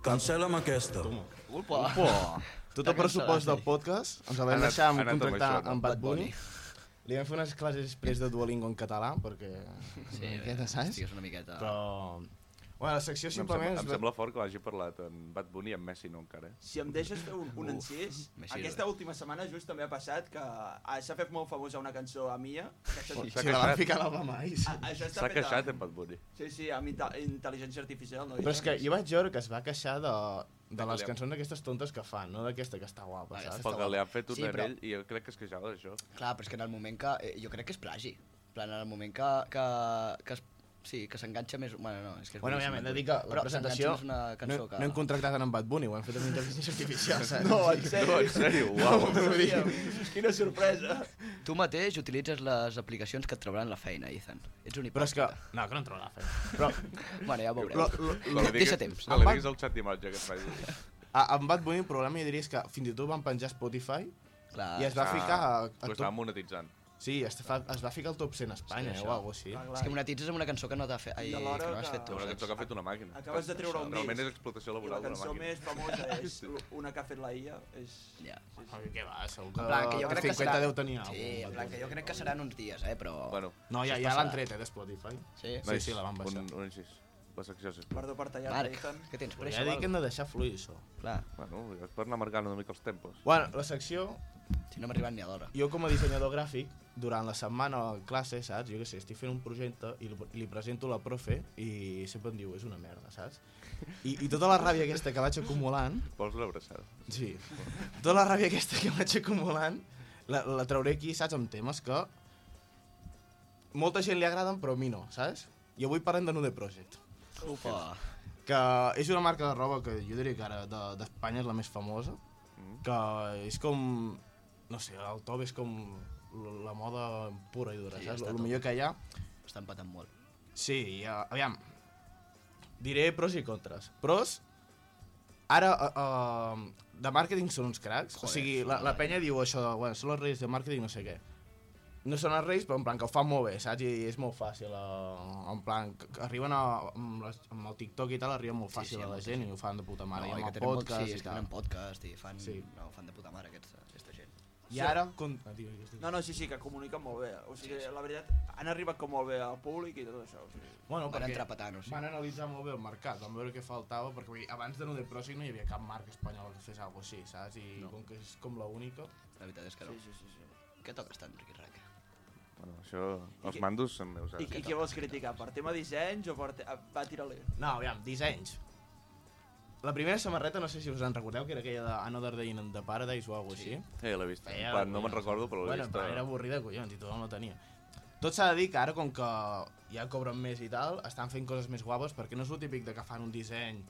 Cancela'm aquesta.
Culpa.
Tot el pressupost del podcast ens el vam deixar
Ha
amb
anat amb
contractar
això, no?
amb Bad
Bad
Bunny.
Bunny.
Li vam fer unes classes després de Duolingo en català, perquè...
Sí,
una miqueta, saps?
Estigues una miqueta.
Però... Bueno, la secció
Em sembla,
simplement...
em sembla fort que l'hagi parlat en Bad Bunny i en Messi, no encara. eh?
Si em deixes fer un, un encís,
m'aixero.
aquesta última setmana just també ha passat que ah, s'ha fet molt famosa una cançó a Mia. Que això,
Oh,
sí,
s'ha
Si la van
queixat.
ficar a l'Obama Ice.
a- això està
S'ha
fet eh?
queixat
a,
en Bad Bunny.
Sí, sí, amb inte- intel·ligència artificial. No hi
Però és que
res.
jo vaig veure que es va queixar de, de les
Galea.
cançons aquestes tontes que fan, no d'aquesta que està guapa,
Ah,
saps?
aquesta-
Però que li han fet un
Sí,
sí,
però-
anell i jo crec que es queixava d'això.
Clar, però és que en el moment que... eh, Jo crec que és plagi. En plan, en el moment que... que, que es, sí, que s'enganxa més... Bueno, no, és que és
Bueno,
boníssim,
òbviament,
Bad
de dir
Bunny.
que la
però
presentació...
s'enganxa més una cançó
no,
que...
no hem contractat en Bad Bunny, ho hem fet amb intel·ligència artificial, saps?
No, en
No,
sèrio.
en sèrio, uau.
No ho sabíem. Quina sorpresa.
Tu mateix utilitzes les aplicacions que et trauran la feina, Ethan. Ets un
Però és que...
hipòcrita.
No, que no em trobo la feina. Però
(laughs) Bueno, ja ho veurem.
Quan li
Deixa
diguis-
temps.
Quan li diguis al xat d'imatge que es faci.
a, amb Bad Bunny el problema jo diria és que fins i tot van penjar a Spotify
Clar,
i es va
Ah,
ficar... A, a
Ho estava
top,
monetitzant.
sí, es, fa, es va ficar al top 100 a Espanya eh,
Hòstia, això.
o alguna així.
És que monetitzes amb una cançó que no t'ha fet... Ai,
De
que
l'hora
no has
que-
fet tu,
Una cançó que
saps?
ha fet una màquina.
Acabes de treure un
Realment és
disc.
explotació
I la
laboral d'una
cançó
màquina.
més famosa és una que ha fet la IA. És...
Ja.
Ai, Què va, segur
En plan, que jo
que...
crec que
50
serà...
Ah, deu tenia
Sí,
algun
en
Bad
plan, que
Bunny.
jo crec que seran uns dies, eh, però...
Bueno,
No, ja,
Això
ja
passarà.
l'han tret, eh, de Spotify.
Sí?
Sí, sí, la van baixar.
Un, un incís. La secció, sisplau.
Perdó per tallar-te,
Marc,
Ethan.
què tens?
Ja
Pressa,
dic
val?
que hem de deixar fluir, això.
Clar,
Bueno, és per anar marcant una mica els tempos.
Bueno, la secció,
si no m'ha arribat ni a l'hora.
jo com a dissenyador gràfic, durant la setmana a classe, saps? Jo què sé, estic fent un projecte i li- li presento a la profe i sempre em diu, és una merda, saps? I, i tota la ràbia aquesta que vaig acumulant,
Vols l'abraçada?
sí, tota la ràbia aquesta que vaig acumulant, la, la trauré aquí, saps? Amb temes que molta gent li agraden però a mi no, saps? I avui parlem de Nude Project
Ufa.
que és una marca de roba que jo diria que ara de- d'Espanya de, és la més famosa,
Mm.
que és com, no sé, el top és com l- la moda pura i dura,
Sí,
sí, saps?
està
El
top.
millor que hi ha.
Està empatant molt.
Sí, ja, aviam, diré pros i contres. Pros, ara, uh, uh, de màrqueting són uns cracs, o
Joder,
sigui,
sí, eh.
la, la
vale.
penya diu això de, bueno, són els reis de màrqueting, no sé què. No són els reis, però en plan que ho fan molt bé, saps? I és molt fàcil, uh, en plan, que que arriben a, amb, les, amb el TikTok i tal, arriba molt
Sí,
fàcil
sí,
a la
molta
gent i ho fan de puta mare,
no,
no, i
i
amb
que
el
tenen molt-
podcast
sí,
i
és que
tal.
tenen podcast i fan,
Sí.
no, fan de puta mare aquesta, aquesta gent.
I ara... Con... Ah, digues, digues, digues.
No, no, sí, sí, que comuniquen molt bé. O sigui, la veritat, han arribat com molt bé al públic i tot això. O sigui,
Bueno,
Van entrar petant, o sigui.
Van analitzar molt bé el mercat, van veure què faltava, perquè vull dir, abans de Nude Project no hi havia cap marca espanyola que fes alguna cosa així, saps? I no. com que és com l'única...
La veritat és que no.
sí, sí, sí. sí.
Què toques tant, Riqui Rac?
Bueno, això... Els
què-
mandos són meus,
I, I
ara.
què vols criticar? Per tema dissenys o per... Te... ah, Va, tira-li.
No, aviam, dissenys. La primera samarreta, no sé si us en recordeu, que era aquella de Another Day in the Paradise o alguna cosa així.
Eh, l'he vist.
Feia
En plan, no
vergonya.
me'n recordo, però l'he
Bueno,
vist. eh.
en plan, era
a-
avorrida, collons, i tothom la tenia. Tot s'ha de dir que ara, com que ja cobren més i tal, estan fent coses més guaves, perquè no és el típic de que fan un disseny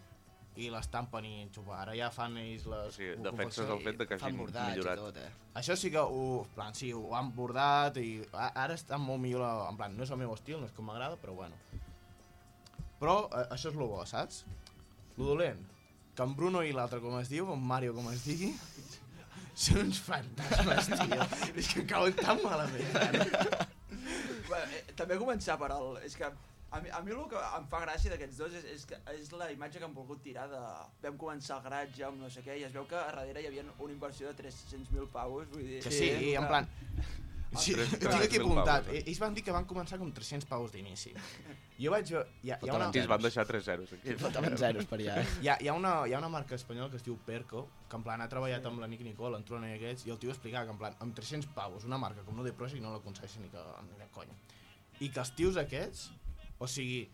i l'estampen i enxupen. Ara ja fan ells les...
O sigui,
ho
defenses
confeccionen
el fet de que
Fan
hagin
bordats
millorat.
i tot, eh? (laughs)
això sí que ho, en plan, sí, ho han bordat i a- ara està molt millor, la, en plan, no és el meu estil, no és com m'agrada, però bueno. Però eh, això és lo bo, saps? Lo dolent, que en Bruno i l'altre com es diu, en Mario com es digui, (laughs) són uns fantasmes, tio. és que cauen tan malament. ara.
Bé, eh, també començar per el... És que a mi, a mi el que em fa gràcia d'aquests dos és, és, que és la imatge que han volgut tirar de... Vam començar el garatge amb no sé què i es veu que a darrere hi havia una inversió de 300.000 paus, vull dir...
Que sí, i en plan... Sí,
tres-
ho tinc aquí
3.000
apuntat.
paus, eh?
Ells van dir que van començar com 300 paus d'inici. Jo vaig... veure- Hi ha, hi ha una...
I ens van deixar 3 zeros aquí.
Faltaven zeros per allà. eh? (laughs)
Hi ha, hi, ha una, hi ha una marca espanyola que es diu Perco, que en plan ha treballat amb l'amic Nicol, en Trona i aquests, i el tio explicava que en plan, amb 300 pavos, una marca com no de Project no l'aconsegueix ni, que, ni de conya. I que els tios aquests, o sigui,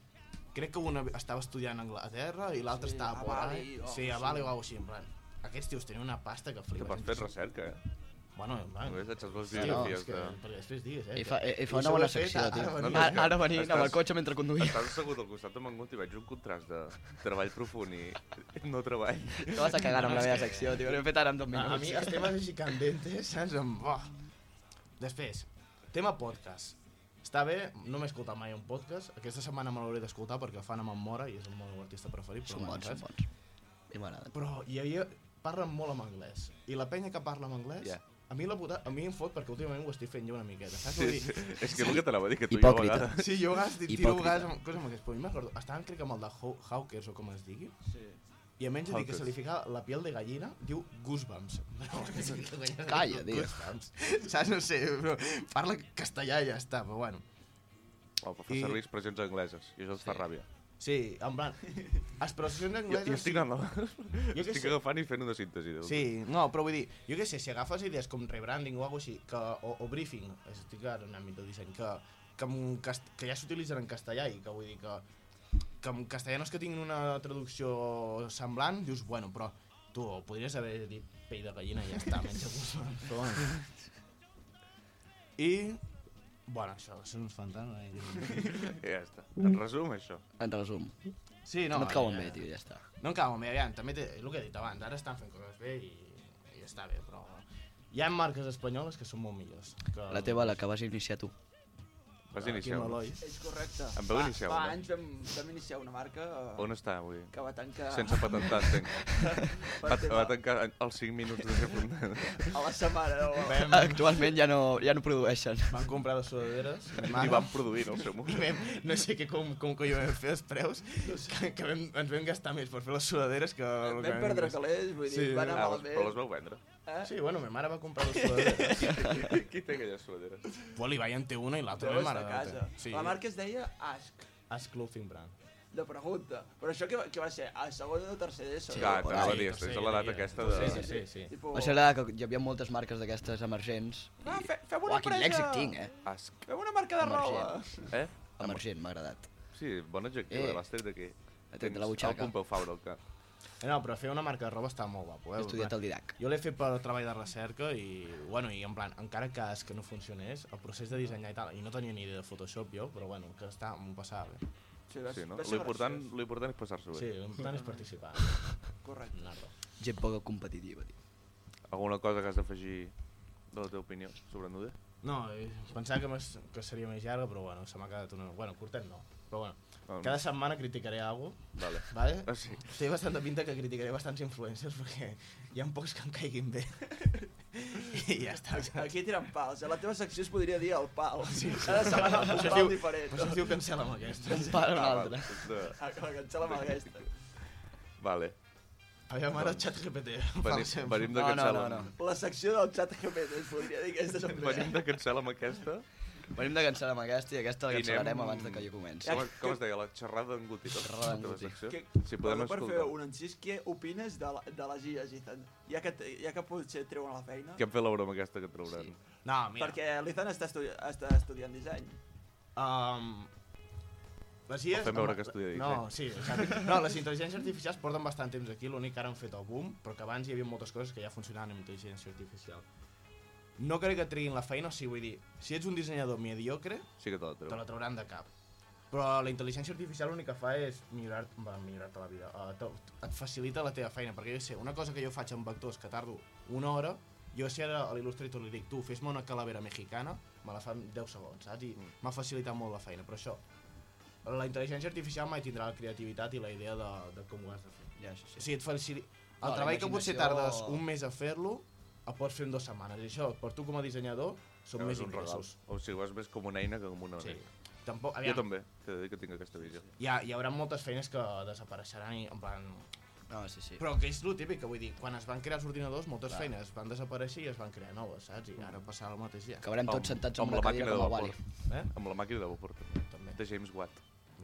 crec que un estava estudiant a Anglaterra i l'altre
Sí,
estava
a
por ahí.
Bali o
Sí, a
sí.
Bali o alguna cosa així, en plan. Aquests tios tenen una pasta que
Que
flipes.
pots fer recerca, eh?
Bueno, en plan...
Només deixes les
Ah. Sí, no,
biografies
és que,
de...
perquè després digues, eh?
I fa, i fa una
I això ho
bona
he fet
secció,
ara
tio.
venint.
Ara, ara venint amb el
Estàs-
cotxe mentre conduïa.
(laughs) Estàs assegut al costat de Mangut i veig un contrast de treball profund i no treball.
Te vas a cagar amb la meva secció, tio. L'he fet ara en dos (laughs)
A, a
minuts.
mi els temes així candentes, saps? Amb... Oh. Després, tema podcast. Està bé, no m'he escoltat mai un podcast. Aquesta setmana me l'hauré d'escoltar perquè fan amb en Mora i és el meu artista preferit. Però
Són
bueno,
bons,
saps?
són bons. I m'agrada.
Però hi havia... Parlen molt en anglès. I la penya que parla en anglès...
Ja.
A mi, la puta, a mi em fot perquè últimament ho estic fent jo una miqueta,
Sí,
saps? Vull
sí.
dir,
És que és el que te la va dir, que tu
Hipòcrita.
jo a vegades...
Sí,
(laughs)
jo a vegades tiro
Hipòcrita.
vegades amb coses amb aquestes, però jo m'acordo, estaven crec que amb el de Haw- Hawkers o com es digui,
Sí.
i a menys de dir que
Hawkers.
se li fica la piel de gallina, diu
(laughs)
goosebumps.
Calla, tio.
Goosebumps. Saps? No sé, però parla castellà i ja està, però bueno.
Oh, però fa
I-
servir expressions angleses i això ens fa ràbia.
Sí, en plan, expressions
Jo,
angleses...
(laughs) jo estic, anant,
Jo què
estic
sé.
agafant i fent una síntesi. del-
Sí, no, però vull dir, jo què sé, si agafes idees com rebranding o alguna així, que, o, o briefing, estic ara en àmbit del disseny, que, que, en cast... que ja s'utilitzen en castellà i que vull dir que, que en castellanos que tinguin una traducció semblant, dius, bueno, però tu podries haver dit pell de gallina i ja està, menys
(laughs)
goosebumps, però bueno. I, bueno, això, són uns fantasmes. eh?
I (laughs) ja està. En resum, això.
En resum,
Sí,
no,
no,
et cauen
eh,
bé, tio, ja està.
No em cauen bé, aviam, també té, és el que he dit abans, ara estan fent coses bé i, i està bé, però... Hi ha marques espanyoles que són molt millors. Que...
La teva, la que vas iniciar tu.
Vas
Aquí
iniciar.
amb
no?
l'Eloi.
És correcte.
En vau
Fa-
iniciar
Fa
una?
anys vam, vam iniciar una marca eh,
On està avui?
que va
Ah.
tancar...
Sense patentar, entenc.
(laughs) per
Va,
tema-
va tancar en- els 5 minuts de ser fundat.
A la setmana, no?
Vam,
Actualment ja no, ja no produeixen.
van comprar les sudaderes, mi mare,
(laughs) I van produir en el seu
i
moment.
vam, no sé què, com, com que jo vam fer els preus, que, que vam, ens vam gastar més per fer les sudaderes que... el que
Vam perdre
gastar.
calés, vull dir,
Sí.
va anar
Ah, les- però les
malament.
vau vendre.
Eh?
Sí, bueno, ma mare va comprar les sudaderes.
Qui,
(laughs)
qui té aquelles sudaderes?
Pol i en té una i l'altra
Deu estar
ma
a
Ah, mare. en té.
casa.
eh. Sí.
La marca es deia Ask.
As Clothing Brand.
de pregunta. Però això què, va- què va ser? A segon o tercer d'ESO?
Sí, Clar,
però-
Ah, t'anava a
sí,
dir,
tercer,
és a l'edat
ja,
aquesta
tercer,
de...
sí, sí, sí.
Tipo,
Va ser la que hi havia moltes marques d'aquestes emergents.
Ah, fe, fem una
Uah, quin
empresa...
lèxic tinc, eh?
Ask.
Fem una marca de roba.
Eh?
Emergent, m'ha agradat.
Sí, bon adjectiu,
Eh.
eh. l'has tret d'aquí.
tret de la butxaca.
El Pompeu Fabra al cap.
Eh, No, però fer una marca de roba està molt guapo. Eh?
He estudiat
Va-
al Didac.
Jo l'he fet per treball de recerca i, bueno, i en plan, encara que, és que no funcionés, el procés de dissenyar i tal, i no tenia ni idea de Photoshop jo, però bueno, que està, m'ho passava bé.
Sí, va,
Sí, no?
va ser
L'important
graciós.
l'important és passar-s'ho bé.
Sí, l'important és participar.
Correcte.
Anar-lo.
Gent poca competitiva, tio.
Alguna cosa que has d'afegir de la teva opinió sobre Nude?
No, i pensava que, més, que seria més llarga, però bueno, se m'ha quedat una... Bueno, curtet no, però bueno.
Ah, no.
Cada setmana criticaré alguna cosa,
Vale.
vale?
Ah, sí.
Té bastanta pinta que criticaré bastants influencers perquè hi ha pocs que em caiguin bé. (laughs) I ja està.
Aquí tiren pals. A la teva secció es podria dir el pal.
Sí, sí.
Cada
(laughs)
setmana
Però
un
això es
pal
diu-
diferent.
Però això es diu cancel·la'm aquesta.
Un pare o un
Ah,
altre.
Vale. doncs,
Ah, que (laughs) la cancel·la amb aquesta.
eh, vale.
Aviam, ara el xat (laughs) GPT.
Venim, venim de
No, no,
cancel·la.
no, no.
La secció del xat GPT es podria dir aquesta és la
Venim de cancel·la amb aquesta.
Venim de cansar amb aquesta i aquesta la
I anem-
cancel·larem abans de que jo comenci.
Com, com es deia? La xerrada d'en Guti. no?
Xerrada d'en
La teva
Guti.
secció?
Que,
Si podem
perdó per fer
escoltar.
un incís, què opines de, la, de les IAs, Ethan? Ja que, t- ja que potser et treuen la feina,
Que hem fet la broma aquesta que trauran.
No, mira.
perquè l'Ethan està, estudi està estudiant disseny.
Um, les IES...
O fem veure que estudia disseny.
No, sí, exacte. No, les intel·ligències artificials porten bastant temps aquí, l'únic que ara han fet el boom, però que abans hi havia moltes coses que ja funcionaven amb intel·ligència artificial. no crec que et treguin la feina, o sigui, vull dir, si ets un dissenyador mediocre,
Sí que te la
te
treu.
la trauran de cap. Però la intel·ligència artificial l'únic que fa és millorar, va, millorar-te la vida, uh, te, et facilita la teva feina, perquè jo sé, una cosa que jo faig amb vectors que tardo una hora, jo si ara a l'Illustrator li dic, tu, fes-me una calavera mexicana, me la fa en 10 segons, saps? I m'ha facilitat molt la feina, però això, la intel·ligència artificial mai tindrà la creativitat i la idea de, de com ho has de fer.
Ja, això
O
sí.
sigui, et facili...
No,
El
la
treball que potser
imaginació-
tardes un mes a fer-lo, el pots fer en dues setmanes. I això, per tu com a dissenyador, són
No,
més
és un regal.
ingressos.
O sigui, ho has vist com una eina que com una
Sí.
eina.
Tampoc,
Jo
aviam,
també, t'he de dir que tinc aquesta visió.
hi, ha, hi haurà moltes feines que desapareixeran i en plan...
No, sí, sí.
Però que és el típic, que vull dir, quan es van crear els ordinadors, moltes Clar. feines van desaparèixer i es van crear noves, saps?
Mm.
I ara passarà el mateix ja.
Acabarem tots sentats en una cadira com a Wally.
Eh?
Amb la màquina de vapor, també.
També.
De James Watt.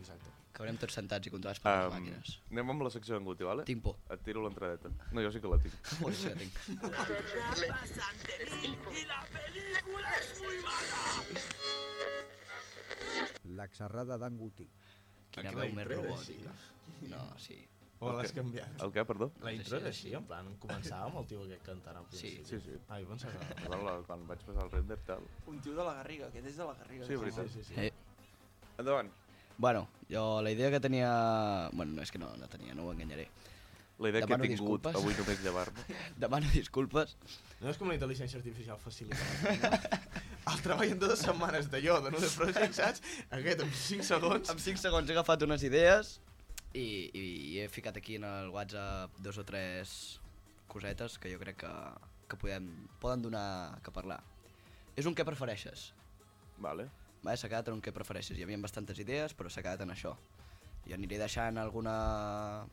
Exacte.
Acabarem tots sentats i controlats per les
Em,
màquines.
anem amb la secció d'en Guti, vale?
Tinc por.
Et tiro l'entradeta. No, jo sí que la tinc.
Joder, sí que tinc.
La xerrada d'en Guti.
Quina veu més robòtica. No, sí.
O l'has canviat.
El què, perdó?
La
Sí,
intro era
sí,
així, en plan, començava amb el tio aquest cantant al
Sí.
principi.
Sí, sí.
Ah, jo
(laughs)
pensava que...
Perdó, la, quan vaig passar el render, tal.
Un tio de la Garriga, que és de la Garriga.
Sí, veritat.
Sí, sí, sí.
Eh,
Endavant.
bueno, jo la idea que tenia... Bueno, no, és que no, no tenia, no ho enganyaré.
La idea
Demano
que he tingut
disculpes.
avui només llevar-me.
Demano disculpes.
No és com la intel·ligència artificial facilita. la feina? el treball en dues setmanes d'allò, de no de project, saps? Aquest, en 5 segons...
En 5 segons he agafat unes idees i, i he ficat aquí en el WhatsApp dos o tres cosetes que jo crec que, que podem, poden donar que parlar. És un què prefereixes.
Vale.
Va, s'ha quedat en un què prefereixes. Hi havia bastantes idees, però s'ha quedat en això. Jo aniré deixant alguna...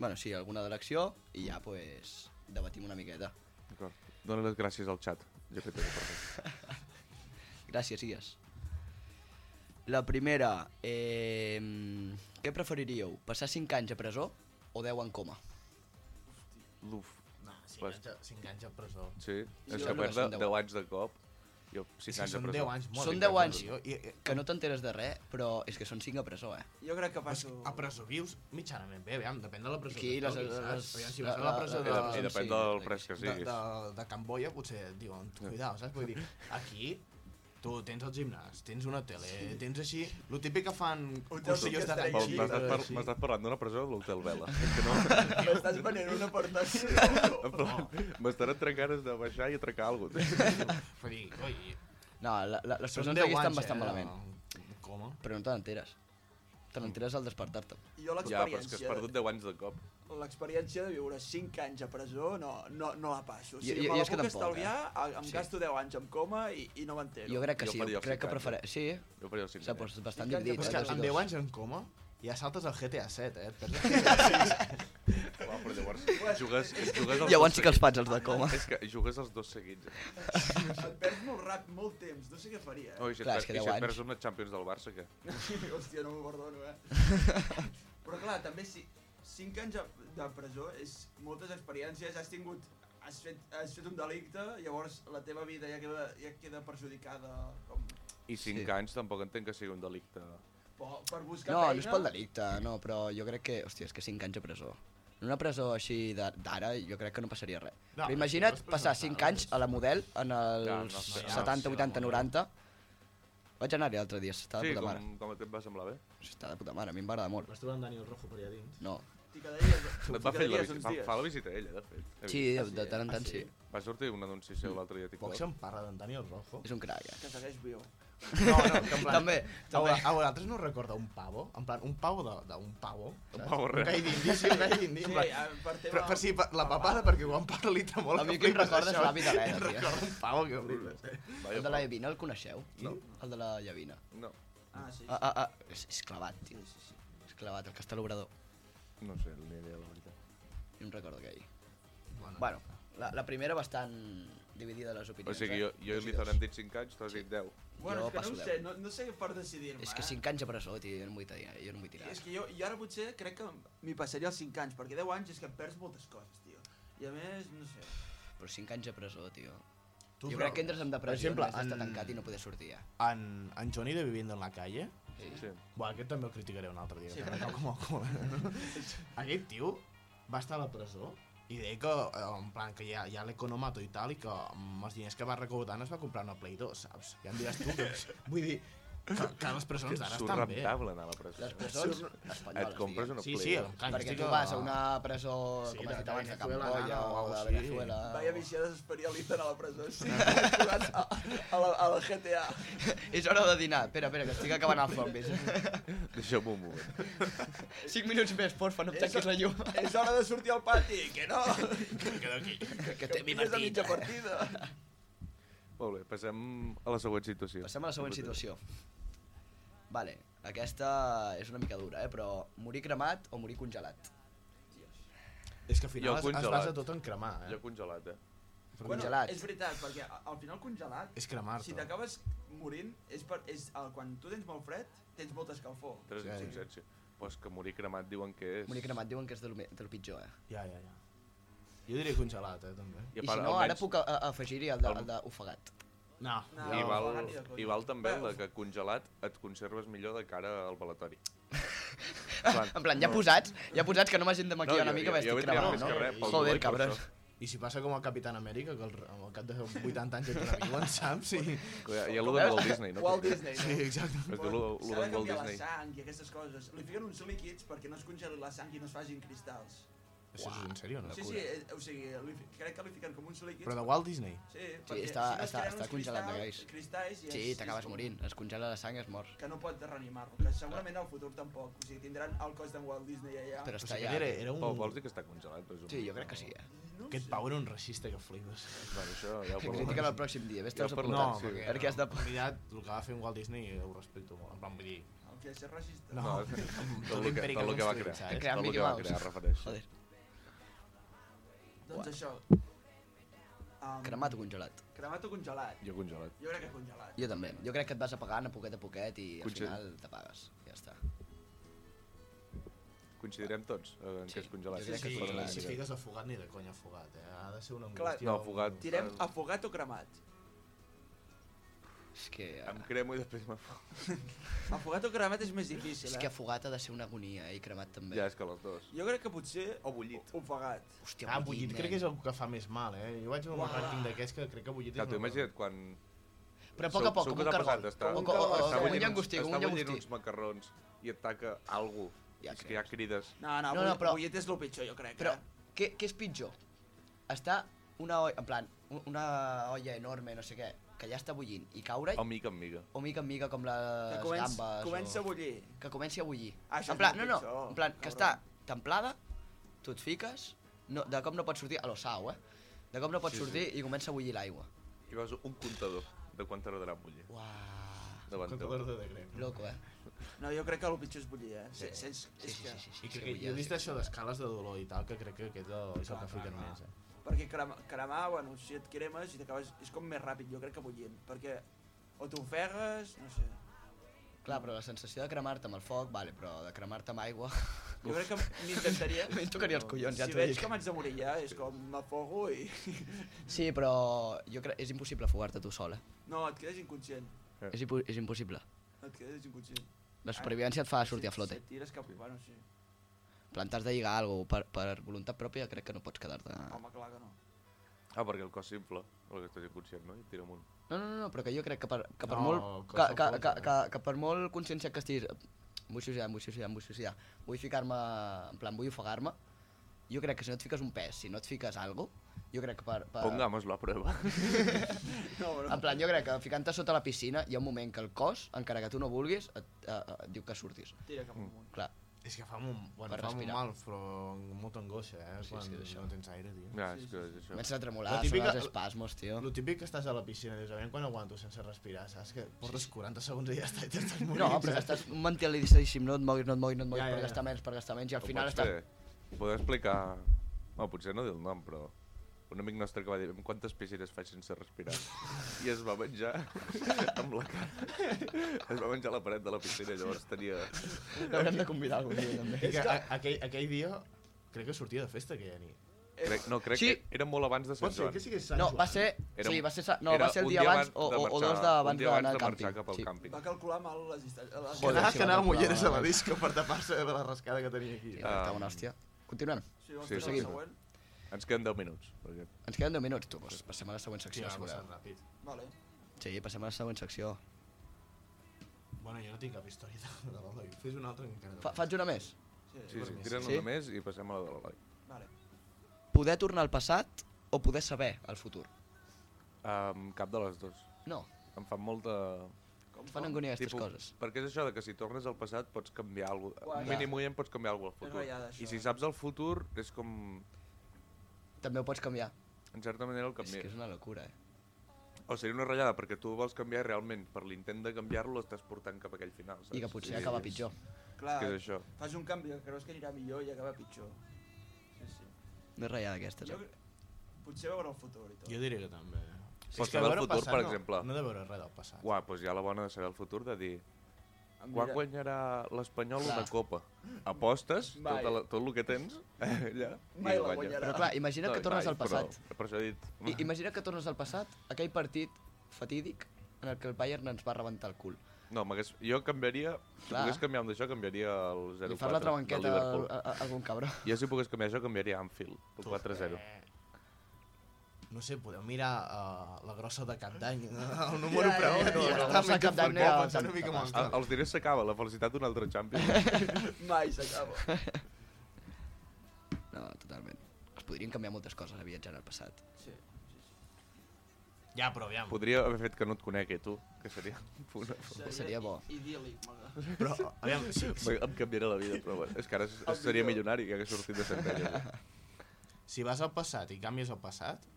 Bueno, sí, alguna de l'acció i ja, pues, debatim una miqueta.
D'acord. Dóna les gràcies al xat. Jo que t'he de parlar.
Gràcies, Ies. La primera, eh, què preferiríeu? Passar 5 anys a presó o 10 en coma?
Luf.
No, s'enganxa s'enganxa a presó.
Sí. És
jo crec
que
que
perda
són deu
10 anys de cop. Jo, 6 anys de
són
presó.
10 anys, molt
Són 10
bé, que
anys.
Jo, i, i,
Que no t'enteres de res, però és que són 5 a presó, eh?
Jo crec que passo...
a presó vius mitjanament bé, aviam, depèn de la presó.
Aquí
que
les-
toquis,
les-
saps? Aviam, si vas a
la-
la presó
la-
de,
I, de, I
de,
la-
Eh, depèn
sí,
del
sí.
pres que
de,
siguis.
de, de Camboya potser et diuen, cuidao, saps? Vull dir, aquí tu tens el gimnàs, tens una tele, tens així... Lo típic que fan cursillos de
Pau,
gaitxí.
M'estàs par- m'estàs parlant d'una presó de l'hotel Vela. És que no...
M'estàs venent una porta així.
En plan, M'estan entrant ganes de baixar i atracar alguna cosa.
Vull dir, oi,
No, la, la, les
són
persones
10
d'aquí estan
anys,
bastant
eh?
malament,
Com?
però no te n'enteres. Te n'enteres al despertar-te.
Eh,
I jo
Ja, però és que has
l'experiència...
perdut 10 anys de cop.
L'experiència de viure 5 anys a presó no, no, no la passo. O
Jo-
sigui,
jo- jo
me la
és que
puc
tampoc,
estalviar, eh? em
Sí.
gasto 10 anys en coma i, i no m'entero.
Jo crec que
Jo
sí,
faria els
crec que
cinc anys, eh?
prefereix... Sí,
Jo faria els 5
s'ha pues, bastant
Cinc anys a
dividit.
És
eh,
que
dos i
amb
dos.
10 anys en coma ja saltes al GTA 7, eh? Et perds
Va, però llavors jugues, jugues els
Llavors
dos
sí que els
seguits.
faig, els de coma.
És que jugues els dos seguits. eh?
Et perds molt ràpid, molt temps, no sé què faria. eh?
Oh, i si et,
Clar,
perds,
és que
i si
deu
et
anys.
perds una Champions del Barça, què?
(laughs) Hòstia, no m'ho perdono, eh? Però clar, també si 5 anys de- de presó és moltes experiències, has tingut has fet, has fet un delicte, llavors la teva vida ja queda, ja queda perjudicada com,
I 5
Sí.
anys tampoc entenc que sigui un delicte.
per, per buscar
No,
feina.
no és pel delicte, no, però jo crec que... Hòstia, és que 5 anys a presó. En una presó així de- d'ara jo crec que no passaria res.
No,
però
però
imagina't
si no és
passar
presó,
5
no,
anys a la model en els
No, no, no, no, no,
70,
no,
80,
no.
90. Vaig anar-hi l'altre dia, s'està de
Sí,
puta Tota mare.
com, com a temps va semblar bé.
S'està de puta mare, a mi em va agradar molt.
Vas trobar en Daniel Rojo per allà dins?
No.
T'hi quedaries,
Et
t'hi
va fer la
quedaries
visita,
uns
fa,
dies.
fa la visita ella, de fet. He
Ah, Sí,
vist. Ah,
de tant en tant sí.
Va sortir un anunci seu l'altre dia a
Poc
TikTok.
se'n parla d'en Daniel Rojo.
És un crac, eh?
Que segueix viu.
No, no, que en plan...
També,
A, vo- a vosaltres no us recorda un pavo? En plan, un pavo de- d'un pavo? saps?
pavo real.
Un gai d'indi, sí, un gai d'indi.
Sí,
en
eh,
plan-
per tema-
Però, però sí, per, la papada, perquè quan parla li tremola.
Ah, A mi que em recorda és l'avi de l'Eda,
Em
tio.
recorda un pavo que flipes. eh?
El de la Llavina el coneixeu?
No.
El de la Llavina.
No,
Ah, sí.
Ah, ah, ah. És, és clavat, tio. És clavat, el castell obrador.
no sé, ni idea, la veritat.
Jo em recordo aquell. Bueno, bueno la, la primera bastant dividida les opinions.
O sigui, jo,
eh?
jo i
Dos i
l'Izan
dos.
hem dit 5 anys, tu has dit 10.
Bueno,
jo
és que no
passo
ho sé,
deu.
no, no sé per decidir-me,
És que eh.
eh?
5 anys a presó, tio, jo no m'ho vull tirar. Jo no m'ho vull tirar.
És que jo, jo ara potser crec que m'hi passaria els 5 anys, perquè 10 anys és que em perds moltes coses, tio. I a més, no sé...
Però 5 anys a presó, tio.
Tu,
jo
però-
crec que entres en depressió,
per exemple,
en... d'estar
en-
tancat i no poder sortir, eh?
En, en Johnny de Viviendo en la Calle?
Sí. sí.
Buah, aquest també
(laughs)
el criticaré un altre dia. Sí, com el cul, eh? Aquest tio va estar a la presó I deia que, eh, en plan, que ja, ja l'he economat i tal, i que amb els diners que va recaudant es va comprar una Play 2, saps? Ja em diràs tu,
(laughs)
que, vull dir, que, que les
Que
Doncs
presons d'ara
surt
estan bé.
rentable anar a la presó.
Les presons
Et
espanyoles,
compres
diguem.
una
Sí,
Play
sí,
dos.
encara
Perquè tu vas a
(laughs)
una presó,
Sí,
com
de-
has dit
de
abans, de
Venezuela,
Camboya
nana, o
o
algo
de
així.
Venezuela...
Vaya viciades esperialitzen a la presó. Sí, jugant a, a, la, a la GTA.
És hora de dinar. Espera, espera, que estic acabant els
(laughs)
zombies.
Deixeu-me un moment.
Cinc minuts més, porfa, no em tanquis la
(laughs)
llum.
És hora de sortir al pati, que no.
(laughs)
Que, que
Que és de mitja partida.
Molt bé, passem a la següent situació.
Passem a la següent situació. Vale, aquesta és una mica dura, eh? però morir cremat o morir congelat?
És que
Jo
al final es, es
congelat.
basa tot en cremar, eh?
Jo congelat, eh?
Congelat.
és veritat, perquè a- al final congelat,
És eh. cremar-te.
si t'acabes morint, és, per, és el, quan tu tens molt fred, tens molta escalfor.
Tres
Sí.
insubsència. Però és que morir cremat diuen que és...
Morir cremat diuen que és del, me- del pitjor, eh?
Ja, ja, ja. Jo diria congelat, eh, també.
I, si no, ara puc a- a- afegir-hi el de- el d'ofegat.
No,
No.
I
jo-
val,
ofegat ni de conya.
I val també
Bé,
la
of-
que congelat et conserves millor de cara al velatori.
(laughs) En plan, ja posats, ja posats que no m'hagin de maquillar
jo-
una mica,
jo- jo
vestit
vindria
cremat,
més que res
no?
pel dolor i
Joder,
per
cabrón.
això.
I si passa com el Capitán Amèrica, que al, al cap de 80 anys ja te reviuen, saps? I...
Hi ha, hi ha lo de Walt Disney, no?
Walt Disney, no?
Sí, exacte.
Es diu lo, lo
S'ha
de
de
Walt
canviar la
Disney.
sang i aquestes coses. Li fiquen uns líquids perquè no es congeli la sang i no es facin cristalls.
Això és en sèrio, no?
Sí, sí, eh, o sigui, li, fi- crec que li fiquen com uns líquids.
Però de Walt Disney?
Sí, perquè
està-
si no es
està-
creen
està
uns
congelat,
cristalls-
guys.
Cristalls i
Sí,
és-
t'acabes
és-
morint, es congela la sang i es mor.
Que no pot reanimar-lo, que segurament al futur tampoc. O sigui, tindran el cos d'en Walt Disney allà.
Però
O
està
sigui, era,
allà. eh,
era un...
Pau, vols dir que està congelat? Presumim.
Sí, jo crec que sí, eh?
No ho
Aquest
sé.
Pau era un racista que flipes.
Bueno, això ja ho
Critiquen
(laughs) parlarem.
el pròxim dia, vés
Ja
te'ls
ho parlarem,
apuntant.
sí.
perquè- Perquè has de...
En veritat, el que va fer en Walt Disney ho respecto molt. En plan, vull dir...
El que és ser racista.
No,
No, tot el que,
l'imperi
tot el que va
construït,
crear.
saps?
Crear
Tot el
Mickey
que va
Mouse.
crear, refereix.
Joder,
Doncs això. Um,
cremat o congelat?
Cremat o congelat?
Jo congelat.
Jo crec que congelat.
Jo també. Jo crec que et vas apagant a poquet a poquet i al
Congel-
final t'apagues. Ja està.
Coincidirem tots eh, en
Sí,
que és congelat.
jo
Sí,
crec
sí,
que
sí,
congelat.
si fiques afogat, ni de conya afogat, eh? Ha de ser una
Clar,
angústia.
no, afogat.
Tirem afogat o cremat?
És que... eh,
Em cremo i després m'afogo.
Afogat o cremat és més difícil,
És que
eh?
afogat ha de ser una agonia, eh? I cremat també.
Ja, és que les dos.
Jo crec que potser...
O bullit.
Ofegat.
Hòstia,
Ah, bullit crec que és el que fa més mal, eh? Jo vaig a un
Uah.
rànquing d'aquests que crec que bullit és...
Clar,
una-
tu imagina't quan...
Però a poc a
Segur-
poc, com
segur que
un
t'ha
cargol.
passat, està-
O, o, o,
està
o, un
bullint
llangostí,
uns-
com
està
un
bullint
llangostí.
uns macarrons i et taca algú.
Ja
Ja és que ja crides.
No, no,
No, no,
no,
però-
però... bullet és el pitjor, jo crec.
Però,
Eh?
què, què és pitjor? Està una olla, en plan, u- una olla enorme, no sé què, que ja està bullint, i caure
O mica en mica.
o mica en mica com les
Que comença,
gambes.
comença
o...
a bullir.
Que comenci a bullir.
Això
en plan,
és
no,
molt
no,
pitjor,
en plan, que està
cabrón.
templada, tu et fiques, no, de cop no pots sortir, a lo sau, eh? De cop no pots sortir i comença a bullir l'aigua.
I veus un comptador de quan tardarà en bullir.
Uah,
Davant
Contra
teu.
l'ordre de crec.
loco, eh?
No, jo crec que el pitjor és bullir, eh? Sí, sí, sí,
Sí,
és
sí,
que...
sí, sí, sí,
I crec
sí,
que
bullir ha
jo
de
he vist
ser.
això d'escales de dolor i tal, que crec que aquest eh, és el que fiquen més, eh?
Perquè crema, cremar, bueno, si et cremes i t'acabes... És com més ràpid, jo crec que bullint. Perquè o t'ofegues, no sé.
Clar, però la sensació de cremar-te amb el foc, vale, però de cremar-te amb aigua... (laughs)
Jo crec que m'intentaria...
Em tocaria els collons, ja
si
t'ho dic.
veig que m'haig de morir ja, és com m'afogo i...
Sí, però jo crec és impossible fugar-te tu sol, eh?
No, et quedes inconscient.
És, impo és impossible.
Et quedes inconscient.
La supervivència et fa sortir a flote.
Si et tires cap... Bueno, Ah, sí.
Plantar de lligar alguna cosa per, per voluntat pròpia, crec que no pots quedar-te... No,
Home, clar que no.
Ah, perquè el cos s'infla. Perquè estàs inconscient, no? I et tira amunt.
no, no, no, però que jo crec que per, que per
No,
molt...
que
Que,
se'n
que,
pot,
que,
eh?
que, que per molt consciència que estiguis... eh, Vull suïcidar, em vull suïcidar, em vull suïcidar. Vull ficar-me... En plan, vull ofegar-me. Jo crec que si no et fiques un pes, si no et fiques algo, jo crec que per... per...
Pongamos la prueba.
No, però...
En plan, jo crec que ficant-te sota la piscina hi ha un moment que el cos, encara que tu no vulguis, et, eh, eh, et diu que surtis.
Tira cap amunt.
Clar,
És que fa molt, bueno,
Per
fa molt
respirar.
mal, però amb molta angoixa, eh?
Sí,
quan
sí, d'això.
no tens aire, tio.
(laughs) Ja, és que és això.
comencen a tremolar,
La
típica...
típica-
són els espasmos, tio.
El típic que estàs a la piscina, dius, a veure quan aguanto sense respirar, saps? Que portes 40 segons i ja està, i t'estàs morint.
No, però
saps?
estàs mentalitzadíssim, no et moguis, no et moguis, no et moguis,
Ja, ja,
per
ja.
gastar menys, per gastar menys, i al
Ho
final
pots
estàs... (laughs)
fer. Podeu explicar... No, potser no dir el nom, però... Un amic nostre que va dir, "Amb quantes piscines faig sense respirar? I es va menjar (laughs) amb la cara. Es va menjar la paret de la piscina, llavors tenia...
L'haurem de convidar algun dia, també.
I que a- aquell, aquell dia crec que sortia de festa aquella nit.
Crec, no, crec
Eh, Sí.
que era molt abans de Sant
Pot ser
Joan.
que sigués Sant
No,
Joan.
va ser...
Era
sí,
un-
va ser, sa- no,
era
va ser el
un
dia abans o,
de
o, o
marxar-
dos d'abans
un dia
d'anar
de
al
marxar
càmping.
Cap al
Sí.
càmping.
Va calcular mal les distàncies. Les...
Joder,
Anava
sí,
que
va
anava
calcular,
amb ulleres a la
eh?
disco per tapar-se de la rascada que tenia aquí.
Ah.
Sí, va, estava una hòstia. Continuem.
Sí, vamos
Sí,
sí,
seguim.
seguim. Següent.
Ens queden 10 minuts. Perquè...
Ens queden 10 minuts, tu. Doncs passem a la següent secció,
Tio,
si
ha
voleu.
passat ràpid.
Vale.
Sí, passem a la següent secció.
Bueno, jo no tinc cap història de, de l'Eloi. Fes una altra que encara...
Fa, faig una més.
Sí, sí, tira'n
Sí?
una més i passem a la de l'Eloi.
Vale.
Poder tornar al passat o poder saber el futur?
Um, cap de les dues.
No,
Em fan molta...
Com,
ens fan engolir aquestes coses.
Perquè és això de que si tornes al passat pots canviar alguna cosa.
Guai.
Mínimament pots canviar alguna
És
cosa al futur.
ratllada, això.
I si saps el futur, és com...
També ho pots canviar.
En certa manera el
És que és
canvies.
una locura, eh?
O seria una ratllada, perquè tu vols canviar i realment. Per l'intent de canviar-lo estàs portant cap a aquell final, saps?
I que potser
Sí,
acaba
és-
pitjor.
Clar,
Què és això?
fas un canvi que creus que anirà millor i acaba pitjor. Sí, sí.
No és ratllada aquesta,
Jo,
eh?
cre- potser veure el futur i tot.
Jo diria que també.
Pots
És que
saber el
veure
futur, per
no,
exemple.
No he de veure res del passat.
Uà, doncs hi ha la bona de saber el futur de dir
Em
quan
dirà-
guanyarà l'Espanyol una
Clar.
copa. Apostes
Mai.
tota la, tot el que tens (laughs) allà
Mai
i
la
guanyes.
guanyarà.
Però clar, imagina't que tornes
mai,
al passat.
Però, per això he dit...
I, imagina't que tornes al passat, aquell partit fatídic en el que el Bayern ens va rebentar el cul.
No, m'hagués... Jo canviaria... Si
Clar.
pogués canviar amb això, canviaria el 0-4
Li fas l'altra
del
banqueta
Liverpool.
a, a, a algun cabró.
Jo si pogués canviar això, canviaria Anfield, el 4-0.
Eh.
No sé, podeu mirar uh, la grossa de cap d'any, el número
ja,
preu.
ja, ja, la grossa de Cap d'Any era
pensant
tan-
una mica
tan-
molt.
A, Ah, els diners s'acaba, la felicitat d'un altre
(laughs)
Champions.
Mai s'acaba.
No, totalment. Es podrien canviar moltes coses a viatjar al passat.
Sí.
Ja, però aviam.
Podria haver fet que no et conegui, tu, que seria... (laughs) Una...
Seria bo.
Idíl·lic, m'agrada. (laughs)
Però, aviam, sí, sí,
Bé, Em canviaré la vida, però bueno, és que ara s- seria milionari que hagués sortit de Centelles.
si vas al passat i canvies el passat,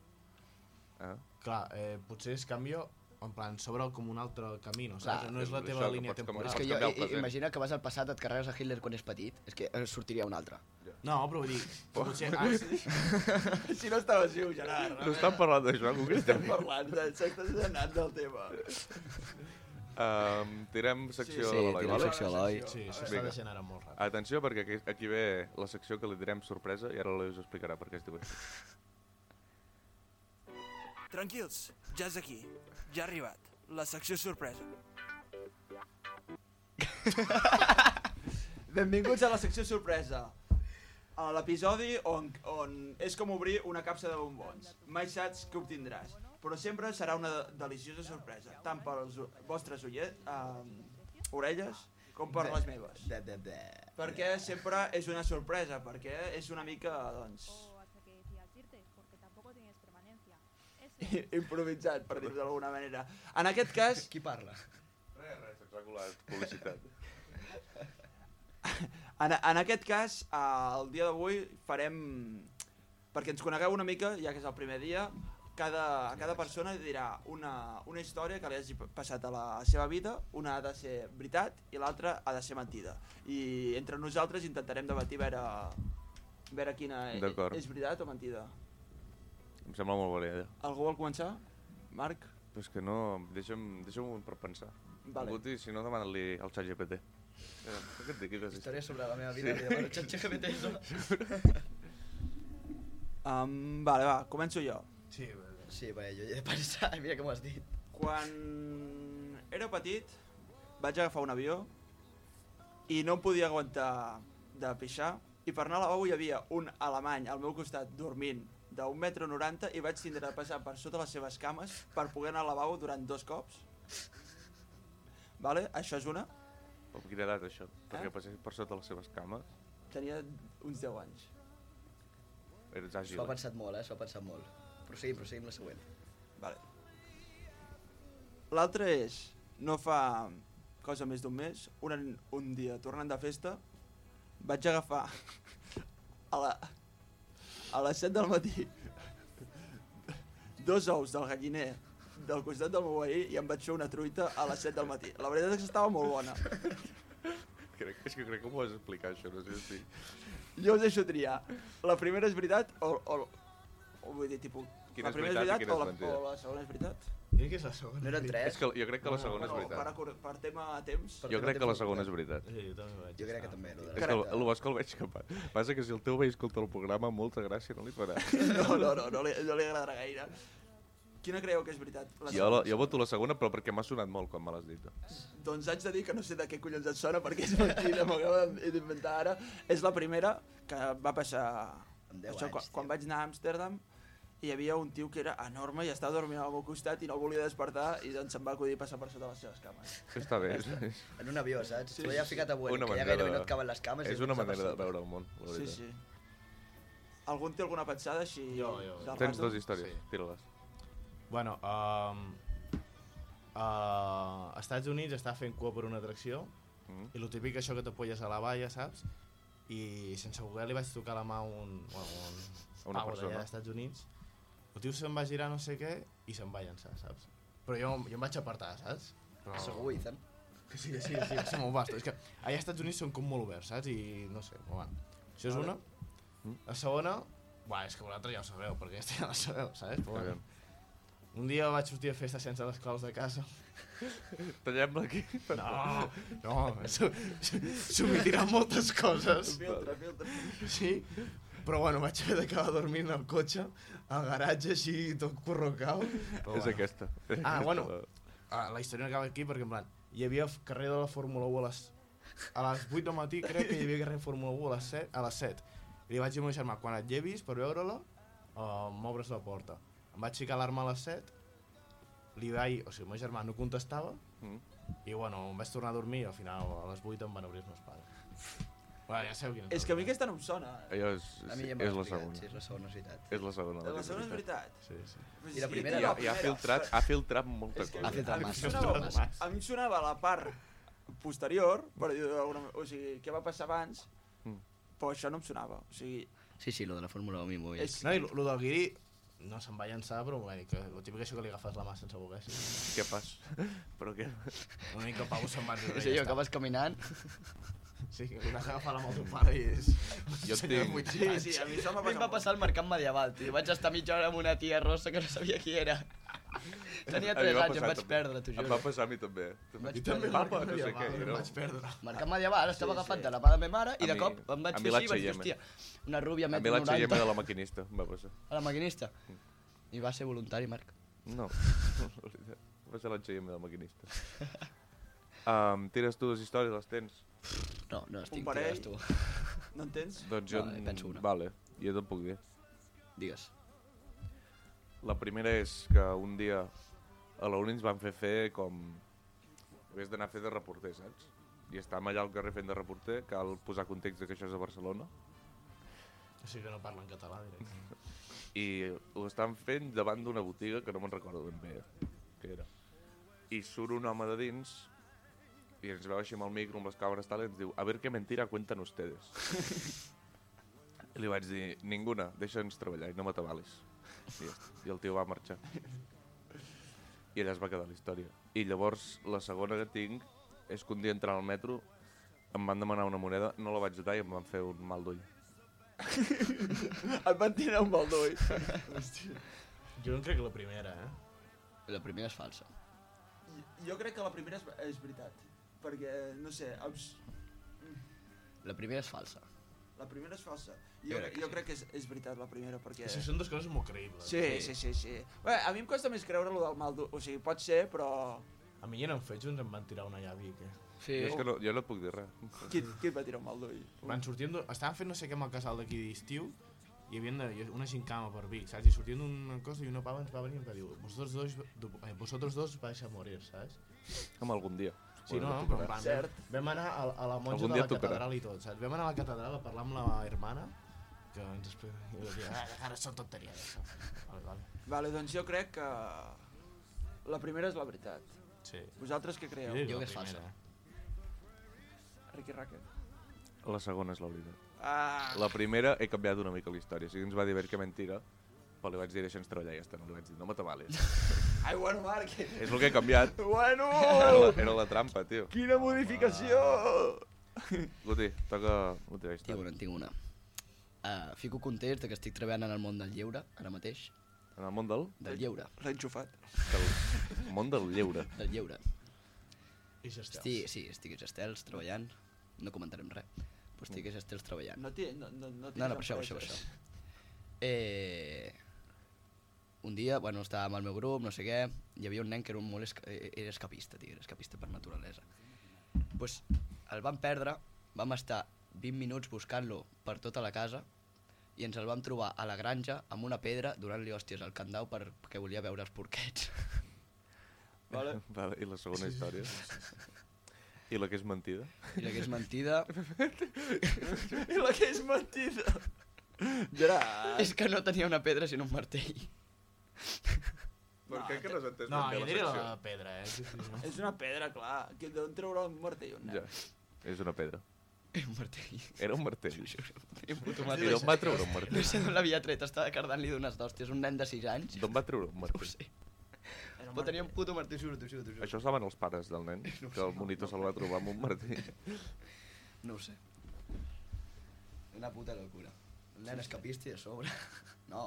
Ah.
clar, eh, potser es canvio en plan, s'obre com un altre camí, no saps?
Clar.
no és la
És
teva
això, que
línia
pots canviar.
temporal.
És que
Pots
jo,
canviar el
i, i-
present.
imagina que vas al passat, et carregues a Hitler quan és petit, és que eh, sortiria un altre.
No, però vull dir, potser... Ah, sí,
Si no estaves viu, Gerard.
No estan parlant d'això, en
(laughs)
concret.
Estem parlant de sectes de nat del tema.
Um, tirem secció
Sí,
de l'Eloi,
tirem
vale?
secció a l'Eloi.
sí s'està
Vinga.
deixant ara molt ràpid.
Atenció, perquè aquí, aquí ve la secció que li direm sorpresa i ara l'Eloi us explicarà per què es diu així.
Tranquils, ja és aquí. Ja ha arribat. La secció sorpresa.
(laughs) Benvinguts a la secció sorpresa. A l'episodi on, on és com obrir una capsa de bombons. Mai saps què obtindràs, però sempre serà una deliciosa sorpresa, tant per les vostres ullet, eh, orelles com per les meves.
De, de, de.
Perquè sempre és una sorpresa, perquè és una mica, doncs,
o hasta Oh, que decidas irte, porque tampoco tienes permanencia. Eso
improvisat, per dir-ho d'alguna manera. En aquest cas,
Qui parla?
Res, res, espectacular, publicitat.
En, en aquest cas, eh, el dia d'avui farem... Perquè ens conegueu una mica, ja que és el primer dia, cada, a cada persona dirà una, una història que li hagi passat a la seva vida, una ha de ser veritat i l'altra ha de ser mentida. I entre nosaltres intentarem debatir a veure, a veure quina e-
D'acord.
és veritat o mentida.
(laughs) Em sembla molt bona idea.
Algú vol començar? Marc?
Però és que no... Deixa'm, deixa'm un moment per pensar.
Vale.
Guti, si no, demana-li al xat GPT. Eh, què et dic?
Història sobre la meva vida, sí. li demano xatxa que m'entens.
Um, vale, va, començo jo.
Sí, bé, bé.
Sí, bé, jo ja he pensat, (laughs) mira que m'ho has dit.
Quan era petit vaig agafar un avió i no em podia aguantar de pixar i per anar a lavabo hi havia un alemany al meu costat dormint d'un metro noranta i vaig tindre de passar per sota les seves cames per poder anar al lavabo durant dos cops. Vale? Això és una.
Amb quina edat, això?
Eh?
Perquè passés per sota les seves cames.
Tenia uns 10 anys.
Eres
S'ho ha
àgil.
pensat molt, eh? S'ho ha pensat molt. Proseguim, proseguim la següent.
Vale. L'altre és, no fa cosa més d'un mes, un, un dia tornant de festa, vaig agafar (laughs) a, la, a les 7 del matí (laughs) dos ous del galliner del costat del meu veí i em vaig fer una truita a les 7 del matí. La veritat és que estava molt bona.
Crec, és que crec que m'ho vas explicar, això. No sé si...
Jo us deixo triar. La primera és veritat o... o, o vull dir, tipus...
Quina
la
és
primera
veritat i
és
quina
veritat o la,
és mentida?
o la segona és veritat?
Crec que és la segona.
No eren
És
tres?
que jo crec que la segona és
Però per,
veritat.
acor- per tema temps...
Jo crec que la segona és veritat.
Sí, jo també vaig.
Jo crec que també, lo de
És
la
que el,
carta.
el Bosco el veig que... pa- Passa que si el teu veí escolta el programa, molta gràcia no li farà.
No, no, no, no li, no li agradarà gaire. Quina creieu que és veritat? La
Jo, la-
segona?
jo voto la segona, però perquè m'ha sonat molt quan me l'has dit.
Doncs haig de dir que no sé de què collons et sona, perquè és mentida, m'ho acabo d'inventar ara. És la primera que va passar
Amb 10
Això,
anys,
quan, quan vaig anar a Amsterdam, hi havia un tio que era enorme i estava dormint al meu costat i no volia despertar i doncs se'm va acudir passar per sota les seves cames.
Està bé.
En un avió, saps? Sí, ja ficat a Vueling,
Una
que ja
manera
gairebé
de-
no et caben les cames.
És una manera de veure el món, la
Sí,
veritat.
sí. Algun té alguna pensada així? Jo, jo.
Tens dues històries, sí. tira-les.
Bueno, um, uh, Estats Units està fent cua per una atracció
Mm.
i lo típic això que t'apoyes a la valla, saps? I sense voler li vaig tocar la mà a un, bueno, un
A una
pavo
persona.
d'allà als Estats Units. El tio se'n va girar no sé què i se'n va llançar, saps? Però jo, jo em vaig apartar, saps? Però...
Segur, Ethan.
Que sí, que sí, que sí, que sí, m'ho basto. És que allà als Estats Units són com molt oberts, saps? I no sé, però bueno. Això és una. La segona, buah, és que vosaltres ja ho sabeu, perquè aquesta ja la sabeu, saps? Però bueno. Un dia vaig sortir a festa sense les claus de casa.
Tallem-la aquí?
No, (laughs) no, s'ho- s'ho- s'ho m'hi diran moltes coses.
Filtra, filtra.
Sí, però bueno, vaig haver d'acabar dormint al cotxe, al garatge, així, tot corrocau. Però
(laughs) És aquesta.
Ah, bueno,
Aquesta.
ah, la història no acaba aquí perquè, en plan, hi havia f- carrer de la Fórmula 1 a les, a les 8 del matí, crec que hi havia carrer de Fórmula 1 a les 7. A les 7. I li vaig dir al meu germà, quan et llevis per veure-la, uh, m'obres la porta. Em vaig ficar l'arma a les 7, li vaig... O sigui, el meu germà no contestava,
Mm.
i bueno, em vaig tornar a dormir i al final a les 8 em van obrir els meus pares. Bueno, ja sabeu quina
És que a mi aquesta no em sona.
Allò és,
A mi ja
és,
m'ho has
la
explicat,
segona.
sí, és la segona, és veritat.
És la segona.
La segona és veritat.
Sí, sí.
I la primera
I,
no,
ha,
la
i ha
primera.
filtrat, ha filtrat molta cosa.
A mi, em sonava, a mi em sonava la part posterior, per dir alguna... O sigui, què va passar abans,
Mm.
però això no em sonava. O sigui,
Sí, sí, lo de la Fórmula 1 a mi m'ho veig.
No, i lo, lo del guiri no se'm va llançar, però va dir que el típic això que li agafes la mà sense voler. Sí.
Què fas? però què?
Una mica Pau se'n va enrere.
És allò, acabes caminant...
Sí, que l'has agafat la mà al teu pare i és...
Jo
Senyor,
tinc-
vuit
Sí,
anys.
sí, a mi això m'ha passat. va passar al mercat medieval, tio. Vaig estar mitja hora amb una tia rossa que no sabia qui era. Tenia
A mi
3
va
anys, em
passar
vaig
també.
perdre, t'ho juro.
Em va passar a mi també.
vaig perdre.
papa,
Mercat
no sé què.
medieval,
era-
em
vaig perdre.
Mercat medieval, estava
Sí,
agafat
sí.
de la mà de la meva mare
A
i de
mi-
cop em
a
vaig
mi
fer així i vaig dir,
l'H&M.
hòstia, una rúbia
A mi
metro
la xallema
90
de la maquinista em va passar.
a la maquinista. I va ser voluntari, Marc.
No, (laughs) la veritat. va ser la xallema de la maquinista.
(laughs)
Um, tires tu dues històries, les tens?
No, no,
un parell... No en (laughs) tens?
Doncs jo...
Vale,
en-
penso una.
Vale, jo te'n puc dir.
Digues.
La primera és que un dia a la uni ens van fer fer com... Havies d'anar a fer de reporter, saps? I estàvem allà al carrer fent de reporter, cal posar context de que això és a Barcelona,
O sigui que no parlen català, directament.
i ho estan fent davant d'una botiga que no me'n recordo ben bé què era. I surt un home de dins i ens veu així amb el micro, amb les càmeres tal, i ens diu, a ver qué mentira cuentan ustedes. I li vaig dir, ninguna, deixa'ns treballar i no m'atabalis. I, ja està. I el tio va marxar. I allà es va quedar la història. I llavors, la segona que tinc és que un dia entrant al metro em van demanar una moneda, no la vaig donar i em van fer un mal d'ull.
Et van tirar un mal d'ull.
Jo no crec que la primera, eh?
La primera és falsa.
Jo crec que la primera és, és veritat. Perquè, no sé, em s-
La primera és falsa.
la primera és falsa.
Jo
Jo,
crec
crec, jo crec que és, és veritat la primera, perquè...
Això són dues coses molt creïbles.
Sí, sí, sí, sí. Bé, a mi em costa més creure lo del mal d'ull. O sigui, pot ser, però...
A mi ja no em fets uns em van tirar una llavi, que...
Sí.
Jo, és que no, jo no et puc dir res.
Qui, qui et va tirar un mal d'ull?
Van sortint... d'un- Estaven fent no sé què amb el casal d'aquí d'estiu, i hi havia una, una gincama per Vic, saps? I sortint d'una cosa i una pava ens va venir i em va dir vosotros dos, eh, vosotros dos vais a morir, saps?
Com algun dia.
Sí, no, no, però en plan,
Cert.
vam, vam anar a, a la monja
Algun
de
dia
la
tocarà.
catedral i tot, saps? Vam anar a la catedral a parlar amb la hermana, que ens explica... I va dir, "Ah, ara són tonteries, això. Vale, vale.
Vale, doncs jo crec que... La primera és la veritat.
Sí.
Vosaltres què creieu?
diria
Jo
la
que és
primera.
falsa.
Ricky Racket.
La segona és la veritat.
Ah,
La primera he canviat una mica la història. O sigui, ens va dir a veure que mentira, però li vaig dir deixa'ns treballar i ja està. No li vaig dir no m'atabales.
ai, bueno, Marc.
és el que he canviat.
Bueno!
Era la, era la trampa, tio.
Quina modificació!
Guti, toca la teva
Tinc
història.
una, en tinc una. Uh, fico context de que estic treballant en el món del lleure, ara mateix.
En el món del...
Del lleure,
L'he enxufat.
del món del lleure.
del lleure.
I ja està.
Estic, sí, estic als estels treballant. No comentarem res. Però estic als estels treballant.
No té... No, no, no, té
No, no, per això, per això, per
empreses.
això. Eh, un dia, bueno, estava amb el meu grup, no sé què, hi havia un nen que era un molt esca eh, era escapista, tio, era escapista per naturalesa. pues, el vam perdre, vam estar 20 minuts buscant-lo per tota la casa i ens el vam trobar a la granja amb una pedra donant-li hòsties al candau perquè volia veure els porquets.
(laughs)
Vale.
Vale, I la segona història? I la que és mentida?
I la que és mentida...
I la que és mentida. Gerard.
És que no tenia una pedra sinó un martell. (laughs)
Per què que no has entès
No,
ben bé
jo
la
diria
secció?
la pedra, eh? Sí, sí, no.
(laughs) És una pedra, clar. Que d'on treurà un martell un nen?
Ja, és una pedra.
Era un martell.
Era un martell.
Era un puto
I
martell.
d'on va treure un
No
martell?
sé d'on l'havia tret, estava cardant-li d'unes d'hòsties, un nen de 6 anys.
D'on va treure un martell?
Però tenia un puto martell, juro, t'ho juro, t'ho juro.
Això ho saben els pares del nen, que el monitor se'l va trobar amb un martell.
No ho sé. Una puta locura. El nen escapista i a sobre... (laughs) No,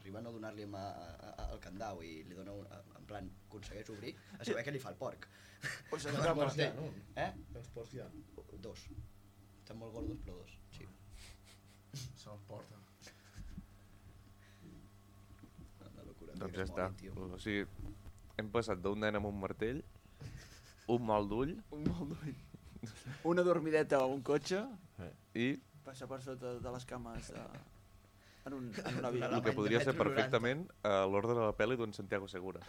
arriba a no donar-li mà a- a- al candau i li dona un... a- En plan, aconsegueix obrir, a saber què li fa el porc.
O
sigui, que porcs hi ha, no?
Eh?
Tens porcs ja.
Dos. Estan molt gordos, però dos. Sí.
Se'l (laughs) porta.
Una locura.
Doncs ja
tio,
està.
molt, tio.
O sigui, hem passat d'un nen amb un martell, un mal d'ull
Un mal d'ull. Una dormideta a un cotxe.
i
Passa per sota de les cames de... en, un, en una via.
el que podria ser perfectament a l'ordre de la pel·li d'un Santiago Segura.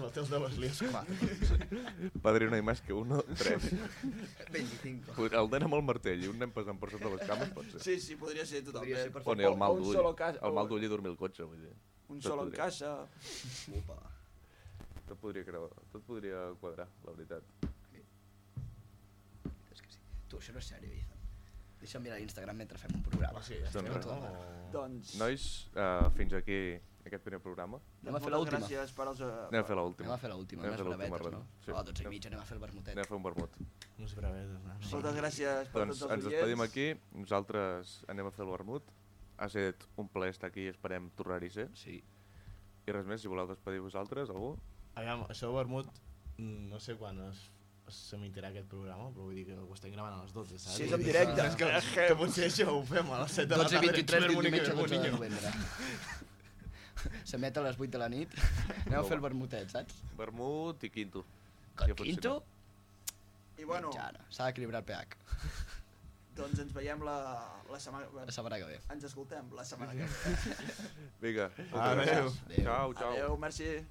La tens de les lies
Padrino i más que uno, tres.
25.
El nen amb el martell i un nen passant per sota les cames pot ser.
Sí, sí, podria ser totalment.
Podria ser
O ni el mal
O un
d'ull.
solo cas-
El mal
o
d'ull i dormir al cotxe, vull dir.
Un
Tot
sol en
podria-
casa.
Opa.
Tot podria, creuar- tot podria quadrar, la veritat.
És que sí. Tu, això no és sèrio, Iza. Deixa'm mirar Instagram mentre fem un programa.
Sí, ja
Doncs
estem,
res.
no?
Doncs...
Nois, uh, fins aquí aquest primer programa.
Anem a fer
moltes
l'última.
Gràcies per als... eh,
Anem a fer l'última.
Anem a fer l'última,
Anem a
unes
fer l'última
bravetes,
ronda.
no? Sí. Oh, 12 i mitja, anem a fer el vermutet.
Anem a fer un vermut.
Unes bravetes, no?
Moltes gràcies per
Doncs
tots els
ens despedim aquí, nosaltres anem a fer el vermut. Ha estat un plaer estar aquí, esperem tornar-hi a ser.
Sí.
I res més, si voleu despedir vosaltres, algú?
Aviam, això de vermut, mm, no sé quan es, s'emitirà aquest programa, però vull dir que ho estem gravant a les 12, saps?
Sí, és
Vull
en
dir
directe.
Que, "Ah, que, que potser això ho fem a les 7 de la
12 i
tarda.
23
Super
d'un
bonic,
diumenge
que
12 de
bonic.
novembre.
(laughs)
S'emet a les 8 de la nit. Anem a fer el vermutet, saps?
Vermut i Quinto.
Que
ha funcionat.
quinto,
I bueno,
mitjana. S'ha d'equilibrar el pH.
doncs ens veiem la, la setmana...
La setmana que ve.
Ens escoltem la setmana que ve.
Vinga, moltes
Adéu.
gràcies. Ciao, ciao.
Adéu, merci.